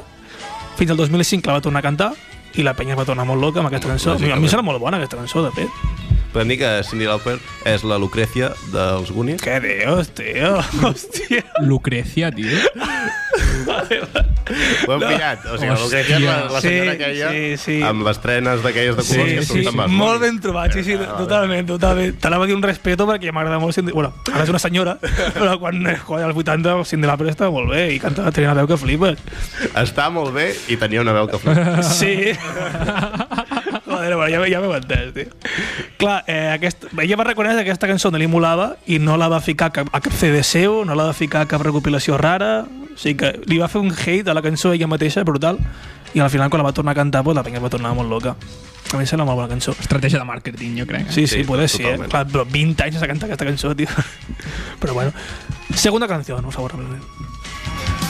S2: fins al 2005 la va tornar a cantar, i la penya es va tornar molt loca amb aquesta cançó. A mi em sembla molt bona aquesta cançó, de fet.
S1: Podem dir que Cindy Lauper és la Lucrecia dels Goonies?
S2: Que Dios, tío, hòstia.
S3: Lucrecia, tio.
S1: Ho hem pillat. O sigui, la Lucrecia és la, la
S2: Sí,
S1: senyora aquella
S2: sí, sí.
S1: amb les trenes d'aquelles de colors que surten bastant.
S2: molt ben trobat, sí, sí, totalment, totalment. T'anava a dir un respeto perquè m'agrada molt Cindy... Bueno, ara és una senyora, però quan, quan als 80 Cindy Lauper estava molt bé i cantava, tenia una veu que flipes.
S1: Està molt bé i tenia una veu que flipa.
S2: Sí. Joder, bueno, ja, m'he- ja m'he entès, tio. Clar, eh, aquest, ella va reconèixer que aquesta cançó no li molava i no la va ficar a cap, a cap CD seu, no la va ficar a cap recopilació rara, o sigui que li va fer un hate a la cançó ella mateixa, brutal, i al final quan la va tornar a cantar, pues, la penya es va tornar molt loca. A mi em sembla molt bona cançó.
S3: Estratègia de màrqueting, jo crec. eh?
S2: Sí, sí,
S1: Eh? Sí,
S2: puede ser.
S1: totalment.
S2: Clar, però 20 anys de cantar aquesta cançó, tio. Però bueno. Segunda canció, no, favorablement.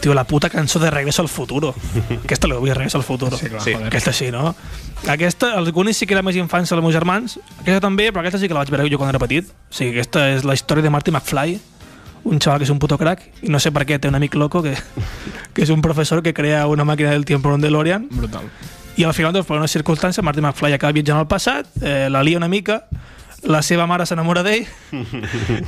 S2: Tio, la puta cançó de Regreso al Futuro. Aquesta l'he vist, Regreso al Futuro.
S3: Sí, clar,
S1: Sí.
S3: joder.
S2: Aquesta sí, no? Aquesta, els Goonies sí que era més infància dels meus germans. Aquesta també, però aquesta sí que la vaig veure jo quan era petit. O sigui, aquesta és la història de Marty McFly, un xaval que és un puto crack, i no sé per què té un amic loco que, que és un professor que crea una màquina del tiempo un DeLorean
S3: Brutal.
S2: i al final, doncs, per una circumstància, Marty McFly acaba viatjant al passat, eh, la lia una mica, la seva mare s'enamora d'ell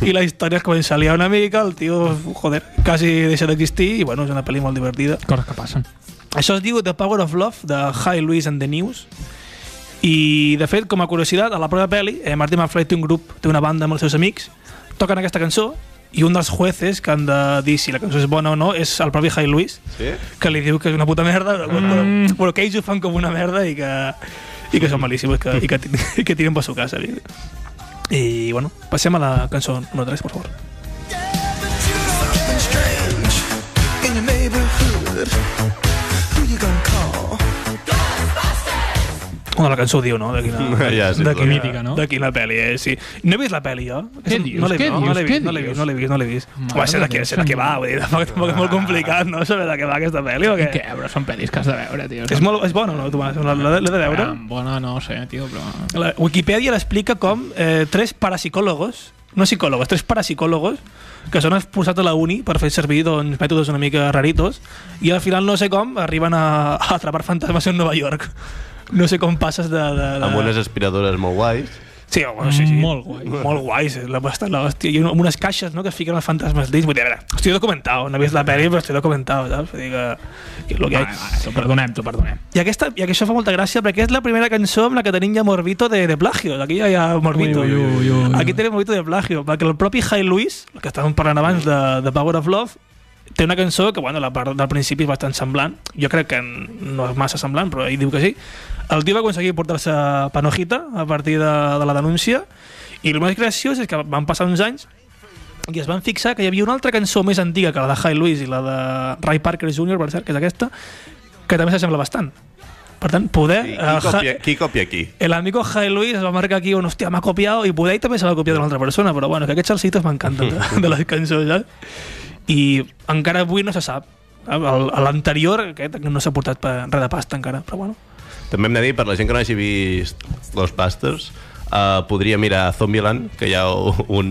S2: i la història es comença a liar una mica, el tio, joder, quasi deixa d'existir i, bueno, és una pel·li molt divertida.
S3: Coses que passen.
S2: Això es diu The Power of Love, de High Louise and the News, i, de fet, com a curiositat, a la prova pel·li, eh, Marty McFly té un grup, té una banda amb els seus amics, toquen aquesta cançó i un dels jueces que han de dir si la cançó és bona o no és el propi High Louise,
S1: Sí?
S2: que li diu que és una puta merda, però, però,
S3: Mm.
S2: però que ells ho fan com una merda i que, i que són malíssims que, i, que, ti- i que tiren per su casa. I, I, bueno, passem a la cançó número 3, per favor. Bueno, la cançó ho diu, no? De quina,
S1: Ja, sí,
S2: de
S1: clar.
S2: quina,
S3: Mítica, no?
S2: De quina pel·li, eh? Sí. No he vist la pel·li, jo.
S3: Què
S2: Aquesta
S3: dius?
S2: No l'he
S3: Què
S2: vist, no, no l'he
S3: dius?
S2: vist, no
S3: Què
S2: l'he vist,
S3: dius?
S2: no l'he vist, no l'he vist.
S3: Mare
S2: Home, sé de
S3: de
S2: què,
S3: Déu
S2: sé de què va,
S3: Santíssim.
S2: vull dir, tampoc, tampoc és molt complicat, no? Saber de què va aquesta pel·li o què?
S3: Què, però són pel·lis que has de veure, tio.
S2: És, molt, és bona o no, Tomàs? L'he de- l'he de veure?
S3: Ah, Bona, no ho sé, tio, però...
S2: La Wikipedia l'explica com eh, tres parapsicòlogos, no psicòlogos, tres parapsicòlogos que són expulsats de la uni per fer servir doncs, mètodes una mica raritos i al final no sé com arriben a, a atrapar fantasmes en Nova York. No sé com passes de... de, de...
S1: Amb unes aspiradores molt guais.
S2: Sí, bueno, sí, sí.
S3: Molt guai.
S2: Molt guai, sí, la bastant la hòstia. I un- amb unes caixes, no?, que es fiquen els fantasmes dins. Vull dir, a veure, estic documentat, no he vist la pel·li, però estic documentat, saps? Vull dir que... que lo que
S3: Va,
S2: hay.
S3: va, t'ho perdonem, t'ho perdonem.
S2: I, aquesta, I això fa molta gràcia perquè és la primera cançó amb la que tenim ja Morbito de, de Plagio. Aquí ja hi ha Morbito.
S3: Ui, ui, ui, ui, ui.
S2: Aquí tenim Morbito de Plagio, perquè el propi High Luis, el que estàvem parlant abans de, de Power of Love, té una cançó que, bueno, la part del principi és bastant semblant. Jo crec que no és massa semblant, però ell diu que sí. El tio va aconseguir portar-se Panojita a partir de, de la denúncia i el més graciós és que van passar uns anys i es van fixar que hi havia una altra cançó més antiga que la de High Louis i la de Ray Parker Jr., per cert, que és aquesta, que també s'assembla bastant. Per tant, poder...
S1: Qui,
S2: eh,
S1: qui, copia,
S2: Hi-
S1: qui copia aquí?
S2: El amigo Jai Luis va marcar aquí un hostia, me ha copiado y Budai también se lo ha copiado de una altra persona, però bueno, que aquests salsitos m'encanten de, de les cançons, saps? I encara avui no se sap. El- a L'anterior, aquest, no s'ha portat per, res de pasta encara, però bueno.
S1: També hem de dir, per la gent que no hagi vist Ghostbusters, Uh, podria mirar Zombieland, que hi ha un,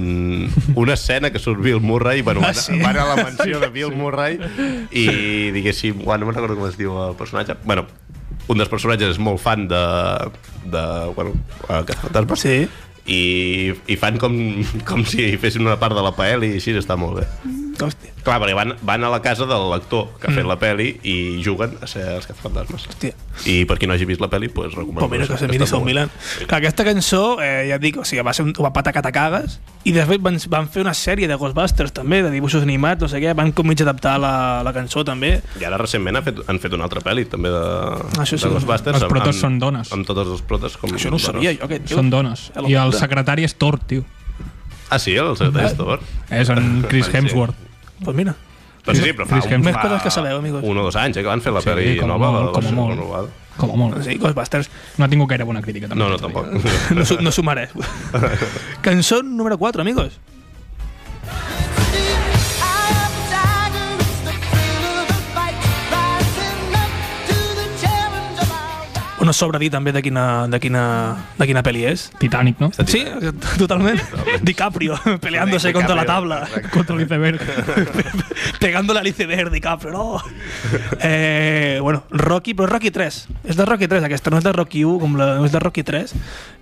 S1: una escena que surt Bill Murray, bueno, van,
S2: Ah, sí?
S1: van a la mansió de Bill Murray i diguéssim, bueno, no me'n recordo com es diu el personatge, bueno, un dels personatges és molt fan de, de bueno, Cazafantasma,
S2: Sí.
S1: i, i fan com, com si fessin una part de la paella i així està molt bé.
S2: Hòstia,
S1: Clar, perquè van, van a la casa del lector que ha
S2: Mm.
S1: fet la peli i juguen a ser els cazafantasmes.
S2: hòstia.
S1: I per qui no hagi vist la pel·li, pues, recomano.
S2: Pues mira, que se
S1: Està
S2: miri
S1: molt
S2: Son
S1: bé.
S2: Milan. Clar, aquesta cançó, eh, ja et dic, o sigui, va ser un, va patacar te cagues, i de fet van, van fer una sèrie de Ghostbusters també, de dibuixos animats, no sé què, van com mig adaptar la, la cançó també,
S1: I ara recentment han fet, han fet una altra pel·li, també de,
S2: Ah, Això sí.
S1: de Ghostbusters.
S3: Els protes són dones.
S1: Amb totes les protes. Com
S2: això no ho
S1: dones.
S2: sabia jo, aquest tio.
S3: Són dones. I el secretari és Thor, tio.
S1: Ah, sí, els
S2: Eh?
S1: secretaris d'or.
S3: És en Chris
S1: Sí.
S3: Hemsworth.
S2: Pues mira,
S1: Doncs sí, però fa,
S3: Chris
S1: un,
S3: Hemsworth.
S2: Més coses que sabeu, amigos.
S1: Un o dos anys, eh, que van fer la
S3: Sí,
S1: pel·li
S3: com a
S1: nova,
S3: molt,
S1: la
S3: com a
S1: versió
S3: molt.
S1: renovada.
S3: Com a molt.
S2: sí, Ghostbusters
S3: No ha tingut gaire bona crítica. També,
S1: No, no,
S3: t'ho dic.
S1: tampoc.
S2: no, su- no s'ho mereix. Cançó número 4, amigos. No sobra dir també de quina, de quina, de quina pel·li és.
S3: Titanic, no?
S2: Sí,
S1: eh?
S2: totalment. DiCaprio, peleándose contra la tabla.
S1: eh,
S3: Contra l'iceberg.
S2: Pegándole al iceberg, DiCaprio, no. Eh, bueno, Rocky, però Rocky 3. És de Rocky 3 aquesta, no és de Rocky 1, com la, no és de Rocky 3,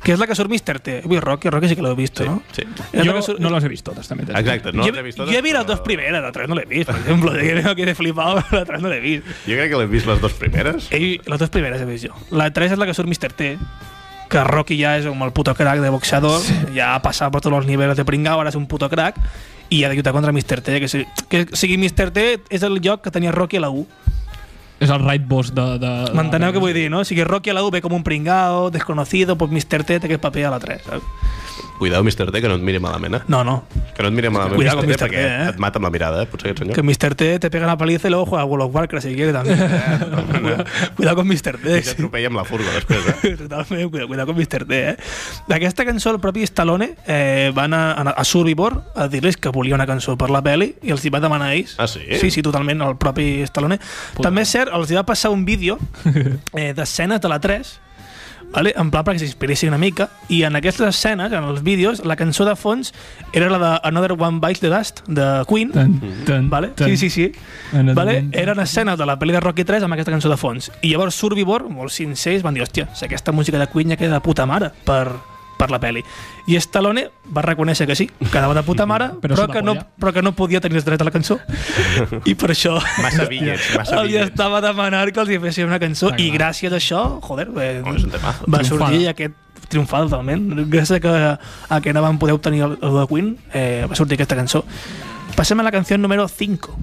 S2: que és la que surt Mr. T. Ui, Rocky, Rocky sí que l'heu vist,
S1: Sí,
S2: no?
S1: sí.
S2: És la
S3: Jo
S2: que surt-
S3: no les he vist totes, també. t'he de dir.
S1: Exacte, no
S2: yo,
S1: l'he vist
S2: yo
S1: totes,
S2: he visto las
S1: però-
S2: dos primeras, las tres no le he visto, por ejemplo. Yo creo que he flipado, la tres no le he visto.
S1: Jo crec que l'he vist les dues primeres.
S2: Ell, les dues primeres he vist jo. La 3 és la que surt Mr. T, que Rocky ja és com el puto crack de boxeador, sí. ja ha passat per tots els nivells de pringao, ara és un puto crack, i ha de lluitar contra Mr. T, que, si, que sigui Mr. T és el lloc que tenia Rocky a la 1.
S3: És el right boss de... de
S2: M'enteneu què vull dir, no? O sigui, Rocky a la 1 ve com un pringao, desconocido, pues Mr. T té aquest paper a la 3. saps?
S1: Cuidao, Mr. T, que no et miri malament, eh?
S2: No, no,
S1: Que no et miri malament,
S2: Cuidao
S1: Mr.
S2: amb
S1: T,
S2: Mr. T,
S1: perquè
S2: eh?
S1: et mata amb la mirada, eh? Potser aquest senyor.
S2: Que Mr. T te pega una paliza y luego juega a World of Warcraft si quiere también. Cuida- cuidado con Mr.
S1: I
S2: T. sí.
S1: t'atropella amb la furga després, eh?
S2: Totalment, cuidado, cuidado con Mr. T. Eh? D'aquesta cançó, el propi Stallone eh, va anar a, a Survivor a dir-los que volia una cançó per la peli i els hi va demanar a ells.
S1: Ah, sí?
S2: Sí, sí, totalment, el propi Stallone. Puta. També és cert, els hi va passar un vídeo eh, d'escenes de la 3 vale? en pla perquè s'inspiressin una mica i en aquestes escenes, en els vídeos, la cançó de fons era la de Another One Bites the Dust de Queen
S3: Tan,
S1: Mhm.
S3: tan,
S2: Vale?
S3: tan.
S2: Sí, sí, sí.
S3: Another
S2: Vale?
S3: one.
S2: Eren escenes de la pel·li de Rocky 3 amb aquesta cançó de fons. I llavors Survivor, molts sincers, van dir, hòstia, si aquesta música de Queen ja queda de puta mare per, per la pel·li. I Stallone va reconèixer que sí, quedava de puta mare, però,
S3: Però és
S2: però,
S3: una
S2: que no,
S3: polla.
S2: però que no podia tenir els drets a la cançó. I per això
S1: Massa billets, massa
S2: li
S1: billets.
S2: estava demanant que els hi fessin una cançó
S3: Ah,
S2: i
S3: clar.
S2: gràcies a això, joder, eh,
S1: Home, Oh, és un temazo.
S2: va
S3: Triomfada.
S2: sortir aquest triomfada totalment. Gràcies a que, a que no van poder obtenir el, el de Queen, eh, va sortir aquesta cançó. Passem a la canció número 5.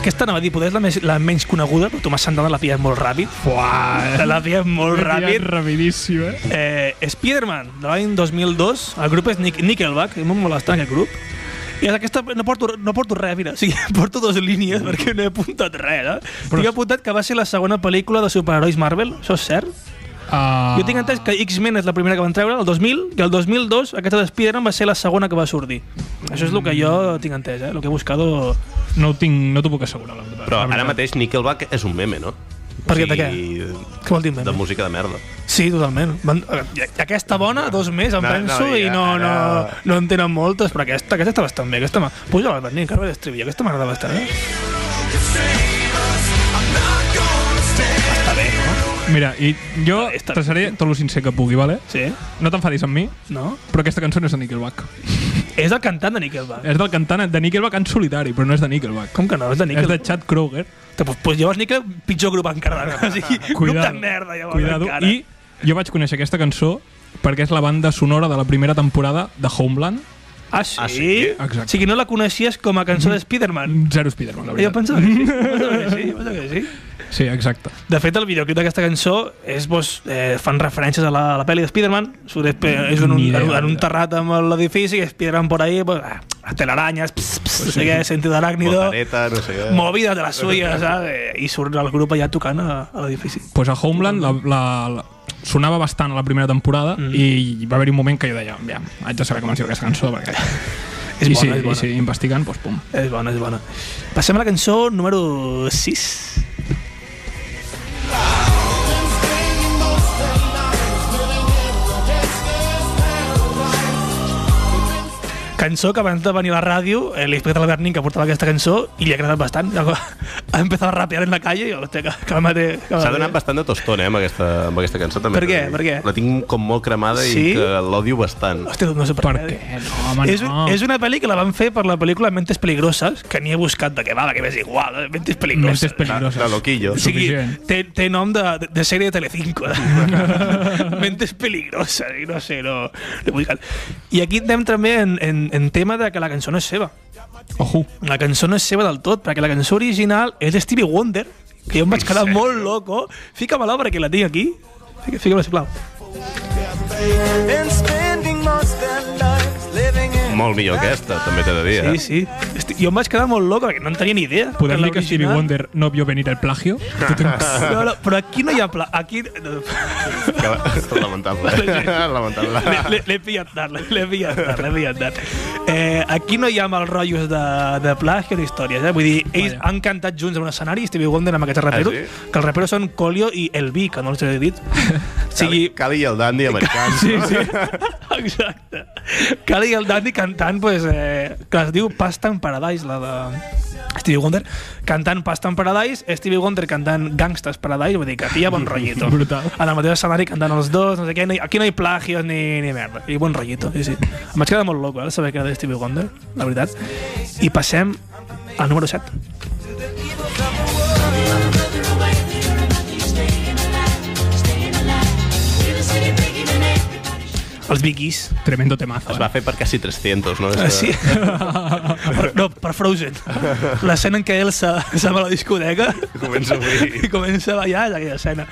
S2: Aquesta anava a dir, poder és la, més, la menys coneguda, però Tomàs Santana la pillat molt ràpid. Uah! La pillat molt ràpid.
S3: Rapidíssim, eh?
S2: Eh, Spider-Man, de l'any 2002. El grup és Nick Nickelback, i m'ho molestant aquest grup. I aquesta no porto, no porto res, mira. O sigui, porto dues línies perquè no he apuntat res. Eh? Però... Tinc apuntat que va ser la segona pel·lícula de superherois Marvel, això és cert.
S3: Uh,
S2: Jo tinc entès que X-Men és la primera que van treure, el 2000, i el 2002 aquesta de Spider-Man va ser la segona que va sortir. Això és el que jo tinc entès, eh? El que he buscat...
S3: No, ho tinc, no t'ho puc assegurar, la veritat.
S1: Però
S3: La
S1: ara
S3: veritat.
S1: mateix Nickelback és un meme, no?
S2: Per què, de què?
S1: què?
S2: Què vol dir,
S1: De
S2: meme?
S1: música de merda.
S2: Sí, totalment. Van, eh, aquesta bona, dos més, em
S1: No,
S2: no,
S1: no,
S2: penso, no,
S1: ja,
S2: i no, no,
S1: ara-
S2: no en tenen moltes, però aquesta, aquesta està bastant bé. Aquesta m'ha... Puja la Bernin, Carme d'Estribillo, aquesta m'agrada bastant. Eh? Està bé, no?
S3: Mira, i jo
S2: Està-
S3: te seré tot el sincer que pugui, vale?
S2: Sí,
S3: No t'enfadis amb mi,
S2: no?
S3: però aquesta cançó no és de Nickelback.
S2: És el cantant de Nickelback.
S3: És del cantant de Nickelback en solitari, però no és de Nickelback.
S2: Com que no? És de
S3: Eh, És de
S2: Nickelback.
S3: Chad Kroger.
S2: Pues, pues llavors Nickelback, pitjor grup encara. No? O sigui, grup
S3: Cuidado.
S2: de merda, llavors,
S3: Cuidado.
S2: encara.
S3: I Jo vaig conèixer aquesta cançó perquè és la banda sonora de la primera temporada de Homeland.
S2: Ah, sí?
S1: Ah, sí?
S3: Exacte. Mm-hmm.
S2: O sigui, no la coneixies com a cançó de Spider-Man.
S3: Zero Spider-Man, la
S2: Jo
S3: veritat.
S2: pensava que sí, pensava que sí, pensava que sí.
S3: Sí, exacte.
S2: De fet, el videoclip d'aquesta cançó és, doncs, eh, fan referències a la, a la pel·li de Spider-Man, surt és, és en un,
S3: Mm, Ni idea,
S2: en, un- en un
S3: ni idea.
S2: terrat amb l'edifici, i Spider-Man por ahí, pues, ah, las telarañas, pss, pss, no sé què, sentido arácnido,
S1: Botaneta, no sé què.
S2: movidas de las suyas, ¿sabes? i surt el grup allà tocant a, a l'edifici.
S3: pues a Homeland la, la, la, sonava bastant a la primera temporada mm. i va haver-hi un moment que jo deia ja, haig de saber com es diu aquesta cançó perquè...
S2: És
S3: I,
S2: bona,
S3: sí,
S2: és bona.
S3: I sí, investigant, doncs pum.
S2: És bona, és bona. Passem a la cançó número 6. Cançó que abans de venir a la ràdio, eh, l'inspector Albert Nin, que portava aquesta cançó, i li ha agradat bastant. Ha empezat a rapear en la calle i, hòstia, que, que mate...
S1: S'ha donat bastant de tostón, eh, amb aquesta, amb aquesta cançó. També
S2: Per què?
S1: t'ho dic.
S2: Per què?
S1: La tinc com molt cremada i
S2: Sí?
S1: que l'odio bastant.
S2: Hòstia, no sé per,
S3: Per
S2: què.
S3: què? No, home,
S2: és,
S3: no.
S2: és una pel·li que la van fer per la pel·lícula Mentes Peligrosas, que ni he buscat de què va, que m'és igual, eh? Mentes Peligrosas.
S3: Mentes
S1: La
S3: peligroses.
S1: loquillo.
S2: O sigui,
S3: Suficient.
S2: té, té nom de, de, de sèrie de Telecinco. Mentes peligrosas, i no sé, no... no vull cal. I aquí entrem també en, en, en tema de que la cançó no és seva.
S3: Ojo.
S2: La cançó no és seva del tot, perquè la cançó original és de Stevie Wonder, que jo em vaig quedar molt loco. Fica-me-la perquè la tinc aquí. Fica- Fica-me-la, sisplau.
S1: Molt millor aquesta, també t'he de dir.
S2: Sí,
S1: eh?
S2: sí. Esti- Jo em vaig quedar molt loco, perquè no en tenia ni idea.
S3: Podem
S2: la
S3: dir que Stevie
S2: original-
S3: Wonder no vio venir el plagio?
S2: No, no, però aquí no hi ha pla... Aquí... No.
S1: Que- Lamentable. Lamentable.
S2: L'he- l'he- L'he pillat tard, l'he- l'he pillat tard, l'he pillat tard. Eh, aquí no hi ha mals rotllos de, de plagio ni històries, eh? Vull dir, ells
S3: Vaja.
S2: han cantat junts en un escenari, Stevie Wonder amb aquests raperos,
S1: Ah,
S2: que els raperos són Colio i El B, que no els he dit. O
S1: Cali,
S2: sigui,
S1: Cali i el Dandy americans.
S2: Sí, sí. Exacte. Cali i el Dandy cantant, pues, eh, que es diu Pasta en Paradise, la de Stevie Wonder, cantant Pasta en Paradise, Stevie Wonder cantant Gangsters Paradise, vull dir que pilla bon rotllito.
S3: Brutal.
S2: En el mateix escenari cantant els dos, no sé què, no hi, aquí no hi plagios ni, ni merda, i bon rotllito, sí, sí. Em vaig quedar molt loco, eh, saber que era de Stevie Wonder, la veritat. I passem al número 7. Els Biggies.
S3: Tremendo temazo.
S1: Es
S3: Eh?
S1: va fer per quasi 300, no?
S2: Ah, sí? per, no, per Frozen. L'escena en què Elsa se'n va a la discoteca
S1: Comença avui.
S2: i comença a ballar és aquella escena.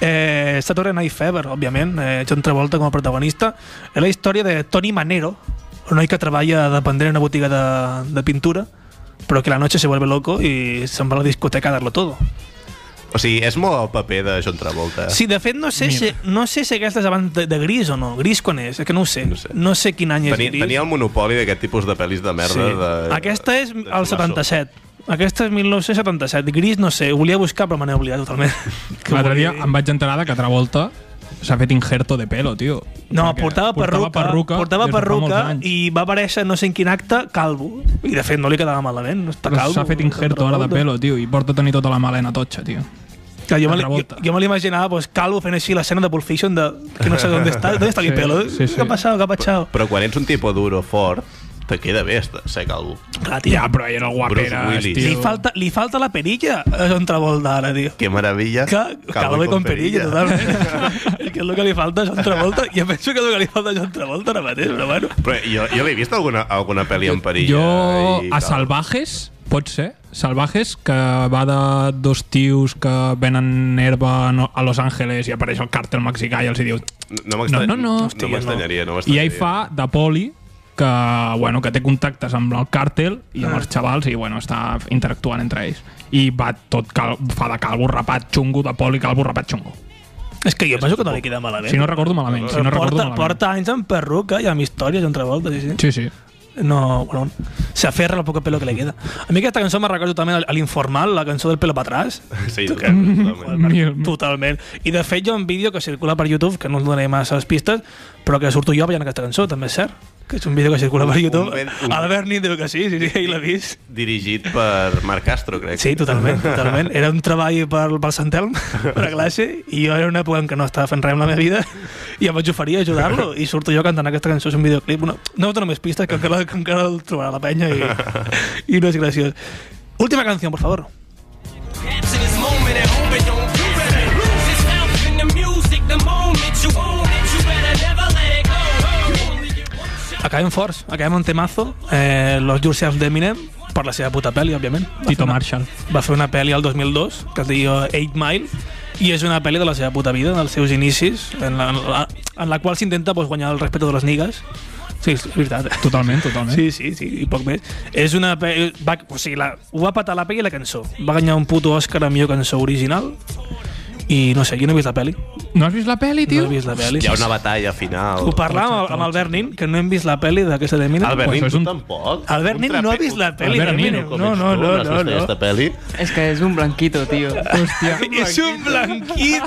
S2: Eh, està tornant a Night Fever, òbviament, eh, John Travolta com a protagonista. És la història de Tony Manero, un noi que treballa dependent en una botiga de, de pintura, però que la noche se vuelve loco i se'n va a la discoteca a darlo todo.
S1: O sigui, és molt el paper de John Travolta.
S2: Sí, de fet, no sé, si, no sé si aquesta és abans de, de Gris o no. Gris quan és? És que no ho sé.
S1: No sé.
S2: no sé quin any és
S1: Tenia,
S2: Gris.
S1: tenia el monopoli d'aquest tipus de pel·lis de merda. De,
S2: Aquesta és
S1: de
S2: el
S1: Tomàs
S2: 77. Aquesta és 1977. Gris, no sé, ho volia buscar, però me n'he oblidat totalment.
S3: L'altre dia em vaig enterar de que Travolta s'ha fet injerto de pelo, tio.
S2: No,
S3: Perquè
S2: portava perruca,
S3: perruca
S2: portava
S3: des de fa
S2: perruca
S3: molts anys.
S2: i va aparèixer no sé en quin acte calvo. I de fet no li quedava malament, no està
S3: Però
S2: calvo.
S3: S'ha fet injerto ara de pelo, tio, i porta tenir tota la melena totxa, tio.
S2: Que jo, me, li-
S3: Travolta.
S2: jo, jo me l'imaginava pues, calvo fent així l'escena de Pulp Fiction de que no sé on està, on està mi
S3: Sí,
S2: pelo.
S3: sí, sí.
S2: Què ha passat, què ha passat?
S1: Però quan ets un tipus duro fort, te queda bé estar- ser calvo.
S2: Clar, tio,
S3: Ja, però ell era el guaperes,
S1: Willis.
S2: li,
S3: tio.
S2: falta, li falta la perilla a John Travolta ara, tio.
S1: Que meravella.
S2: Que, Calvo i con perilla, totalment. és que és el que li falta a John Travolta. Jo penso que és el que li falta a John Travolta ara mateix, però bueno.
S1: Però jo, jo l'he vist alguna, alguna pel·li amb perilla.
S3: Jo,
S1: eh, i
S3: a
S1: tal.
S3: Salvajes, pot ser, Salvajes, que va de dos tios que venen herba a No- a Los Ángeles i apareix el càrtel mexicà i els hi diu...
S1: No, m'estrany-
S3: No, no, no.
S1: no m'estranyaria, no
S3: I
S1: m'estranyaria.
S3: ell fa de poli que, bueno, que té contactes amb el càrtel i
S2: Ah.
S3: amb els xavals i bueno, està interactuant entre ells i va tot cal, fa de calvo rapat xungo, de poli calvo rapat xungo
S2: És que jo penso que no li queda malament.
S3: si no recordo malament, si
S2: Però
S3: no recordo
S2: porta,
S3: malament.
S2: porta anys amb perruca i amb històries John Travolta, sí, sí.
S3: Sí, sí.
S2: No, bueno, se aferra al poco pelo que le queda. A mi aquesta cançó me recordo també a l'Informal, la cançó del pelo para atrás.
S1: Sí, totalment. totalment.
S3: Mil-
S2: Mm. Totalment. I de fet hi ha un vídeo que circula per YouTube, que no us donaré massa pistes, però que surto jo ballant aquesta cançó, també és cert. Que és un vídeo que circula per YouTube.
S1: ben- un-
S2: Albert Nin diu que sí, sí, sí, ell l'ha vist.
S1: Dirigit per Marc Castro, crec.
S2: Sí, totalment, totalment. Era un treball per, per Sant Elm, per a classe, i jo era una època en què no estava fent res amb la meva vida, i em vaig oferir a ajudar-lo, i surto jo cantant aquesta cançó, és un videoclip. No, no us dono més pistes, que encara, que encara el trobarà la penya, i, i no és graciós. Última canció, por favor.
S8: Capture this moment and hope it don't do better. Lose his health in the music the moment
S2: acabem forts. Acabem un temazo, eh, Los Yourself d'Eminem, per la seva puta pel·li, òbviament. Va
S3: Tito
S2: fer una-
S3: Marshall.
S2: Va fer una pel·li al 2002 que es deia 8 Mile i és una pel·li de la seva puta vida, dels seus inicis, en la, en la, en la qual s'intenta pues, guanyar el respecte de les nigues. Sí, és veritat. eh?
S3: Totalment, totalment.
S2: Sí, sí, sí, i poc més. És una... pe- Va, o sigui, la, ho va patar la pel·li i la cançó. Va guanyar un puto Òscar a millor cançó original i no sé, jo no he vist la pel·li.
S3: No has vist la pel·li,
S2: No
S3: tio?
S2: he vist la pel·li.
S1: Hi ha una batalla final.
S2: Ho parlàvem amb, amb Albert Nin, que no hem vist la pel·li d'aquesta de Mina.
S1: Albert
S3: Pues
S1: Nin,
S3: és
S1: tu
S3: un-
S1: tampoc.
S2: Albert Nin no ha vist la pel·li de
S3: Albert Nin,
S2: Mina.
S1: No,
S2: No, no, no, no. no.
S1: Esta peli.
S4: És que és un blanquito, tio.
S3: Hòstia,
S2: És un blanquit.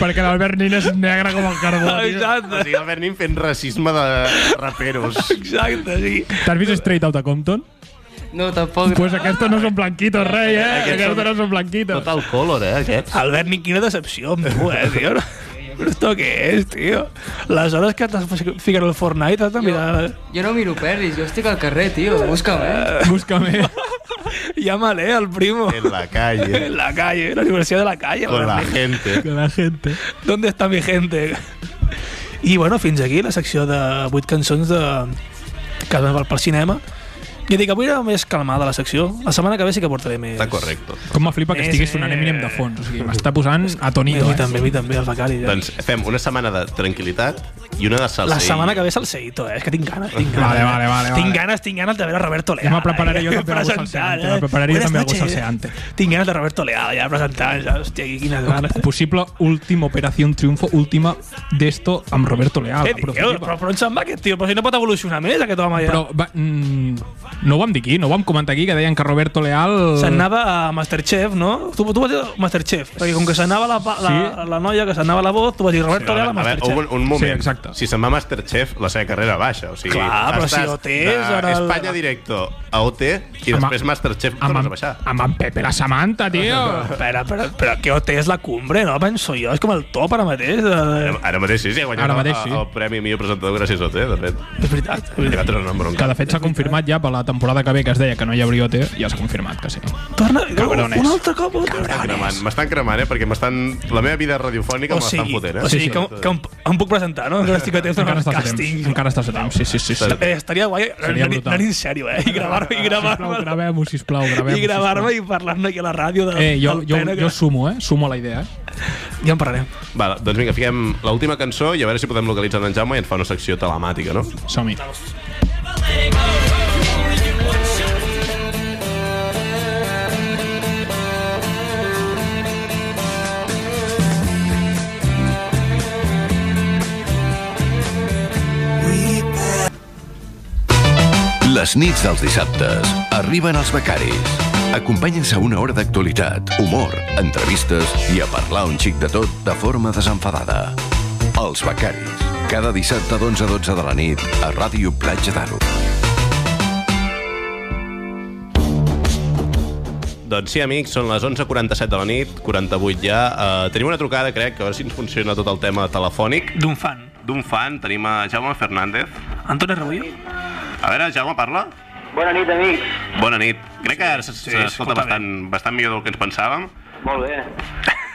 S3: perquè l'Albert Nin és negre com el carbó, tio.
S1: O
S2: Ah, Exacte,
S1: sigui, Albert Nin fent racisme de raperos.
S2: exacte, sí.
S3: T'has vist Straight Outta Compton?
S4: No, tampoc.
S3: Pues aquestos no son blanquitos, rei, eh?
S1: Aquests
S3: Aquestos
S1: són-
S3: no son blanquitos.
S1: Total color, eh, aquests.
S2: Albert Nin, quina decepció amb tu, eh, tio. No. Però esto què és, tio? Les hores que t'has ficat al Fortnite has de mirar...
S4: Jo no miro pel·lis, jo estic al carrer, tio. Busca'm, eh?
S3: Búscame.
S2: Llámale al primo.
S1: En la calle.
S2: En la calle, en la universidad de la calle.
S1: Con la
S2: Albert Nin.
S1: gente.
S3: Que la gente.
S2: ¿Dónde está mi gente? I bueno, fins aquí la secció de 8 cançons de... que es van per- pel cinema. Jo dic, avui era més calmada la secció. La setmana que ve sí que portaré més.
S1: Està correcte.
S3: Com me flipa que
S2: Més,
S3: estigués sonant
S2: eh.
S3: Eminem de fons. O sigui, m'està posant a
S2: Mira,
S3: tonito,
S2: a mi
S3: eh?
S2: també, a mi també, el becari. Ja.
S1: Doncs fem una setmana de tranquil·litat i una de salsa.
S2: la setmana que ve és el Seito, eh? és que tinc ganes, tinc ganes.
S3: Vale, vale, vale,
S2: Tinc
S3: vale.
S2: ganes, tinc ganes de veure Roberto Leal. eh,
S3: Ja me prepararé jo també algú
S2: presentant,
S3: salseante, me prepararé jo
S2: Buenas
S3: també algú
S2: noches.
S3: salseante.
S2: Tinc ganes de Roberto Leal, ja presentant, ja, hòstia, quines ganes.
S3: Possible última operació triunfo, última d'esto amb Roberto Leal.
S2: Què
S3: la
S2: dius?
S3: prototipa.
S2: Però, però on se'n va aquest tio? Però si no pot evolucionar més aquest home ja.
S3: Però va, mm, no ho vam dir aquí, no ho vam comentar aquí, que deien que Roberto Leal...
S2: S'anava a Masterchef, no? Tu, tu vas dir Masterchef, perquè com que s'anava la, pa- la,
S3: Sí.
S2: la, la noia, que s'anava la voz, tu vas dir Roberto Leal a
S1: A veure,
S2: Masterchef.
S1: un, un moment.
S3: Sí, exacte.
S1: Si se'n va a Masterchef, la seva carrera baixa. O sigui,
S2: Clar, però
S1: estàs
S2: si OT és
S1: de
S2: en el-
S1: Espanya directo a OT i
S3: Amb-
S1: després Masterchef
S3: amb,
S1: tornes a
S3: amb,
S1: baixar.
S3: amb en Pepe la Samantha, tio.
S2: Espera, però, però que OT és la cumbre, no? Penso jo, és com el top ¿eh? ara mateix. De...
S1: Ara- Ara mateix sí, sí, ha guanyat
S3: Ara mateix
S1: el,
S3: sí.
S1: el premi millor presentador gràcies a OT, de fet.
S2: És veritat.
S1: I l'altre no em
S3: Que
S1: bronca.
S3: de fet s'ha confirmat ja per la temporada que ve que es deia que no hi hauria OT, ja s'ha confirmat que sí.
S2: Torna,
S3: Cabrones.
S2: un altre cop. Un altre.
S1: M'estan cremant, M'estan cremant, eh? Perquè m'estan... La meva vida radiofònica
S2: O
S1: me l'estan
S2: sigui,
S1: fotent, eh?
S2: o sigui
S3: Sí, sí.
S2: que, que em, em puc presentar, no? Encara estic a temps de
S3: Encara
S2: fer
S3: estàs a
S2: càsting.
S3: temps. Encara estàs a temps, sí, sí, sí. sí.
S2: Eh, estaria guai anar,
S3: brutal.
S2: anar en sèrio, eh? I gravar-me, i
S3: Sisplau,
S2: gravar-me.
S3: gravem-ho, sisplau, gravem-ho.
S2: I gravar-me i parlar-ne aquí a la ràdio de,
S3: Eh, jo,
S2: del
S3: jo,
S2: pena
S3: jo sumo, eh? Sumo a la idea, eh?
S2: que... Ja en parlarem.
S1: Vale, doncs vinga, fiquem l'última cançó i a veure si podem localitzar en Jaume i ens fa una secció telemàtica, no?
S3: Som-hi.
S7: Les nits dels dissabtes arriben els becaris. Acompanyen-se a una hora d'actualitat, humor, entrevistes i a parlar un xic de tot de forma desenfadada. Els becaris. Cada dissabte d'11 a 12 de la nit a Ràdio Platja d'Aro.
S1: Doncs sí, amics, són les 11.47 de la nit, 48 ja. Uh, tenim una trucada, crec, que a veure si ens funciona tot el tema telefònic.
S2: D'un fan.
S1: D'un fan, tenim a Jaume Fernández.
S2: Antoni Rebollo?
S1: A veure, Jaume, parla.
S8: Bona nit, amics.
S1: Bona nit. Crec que s-
S2: sí,
S1: s'escolta
S2: escolta
S1: sí, bastant, bastant millor del que ens pensàvem.
S8: Molt bé.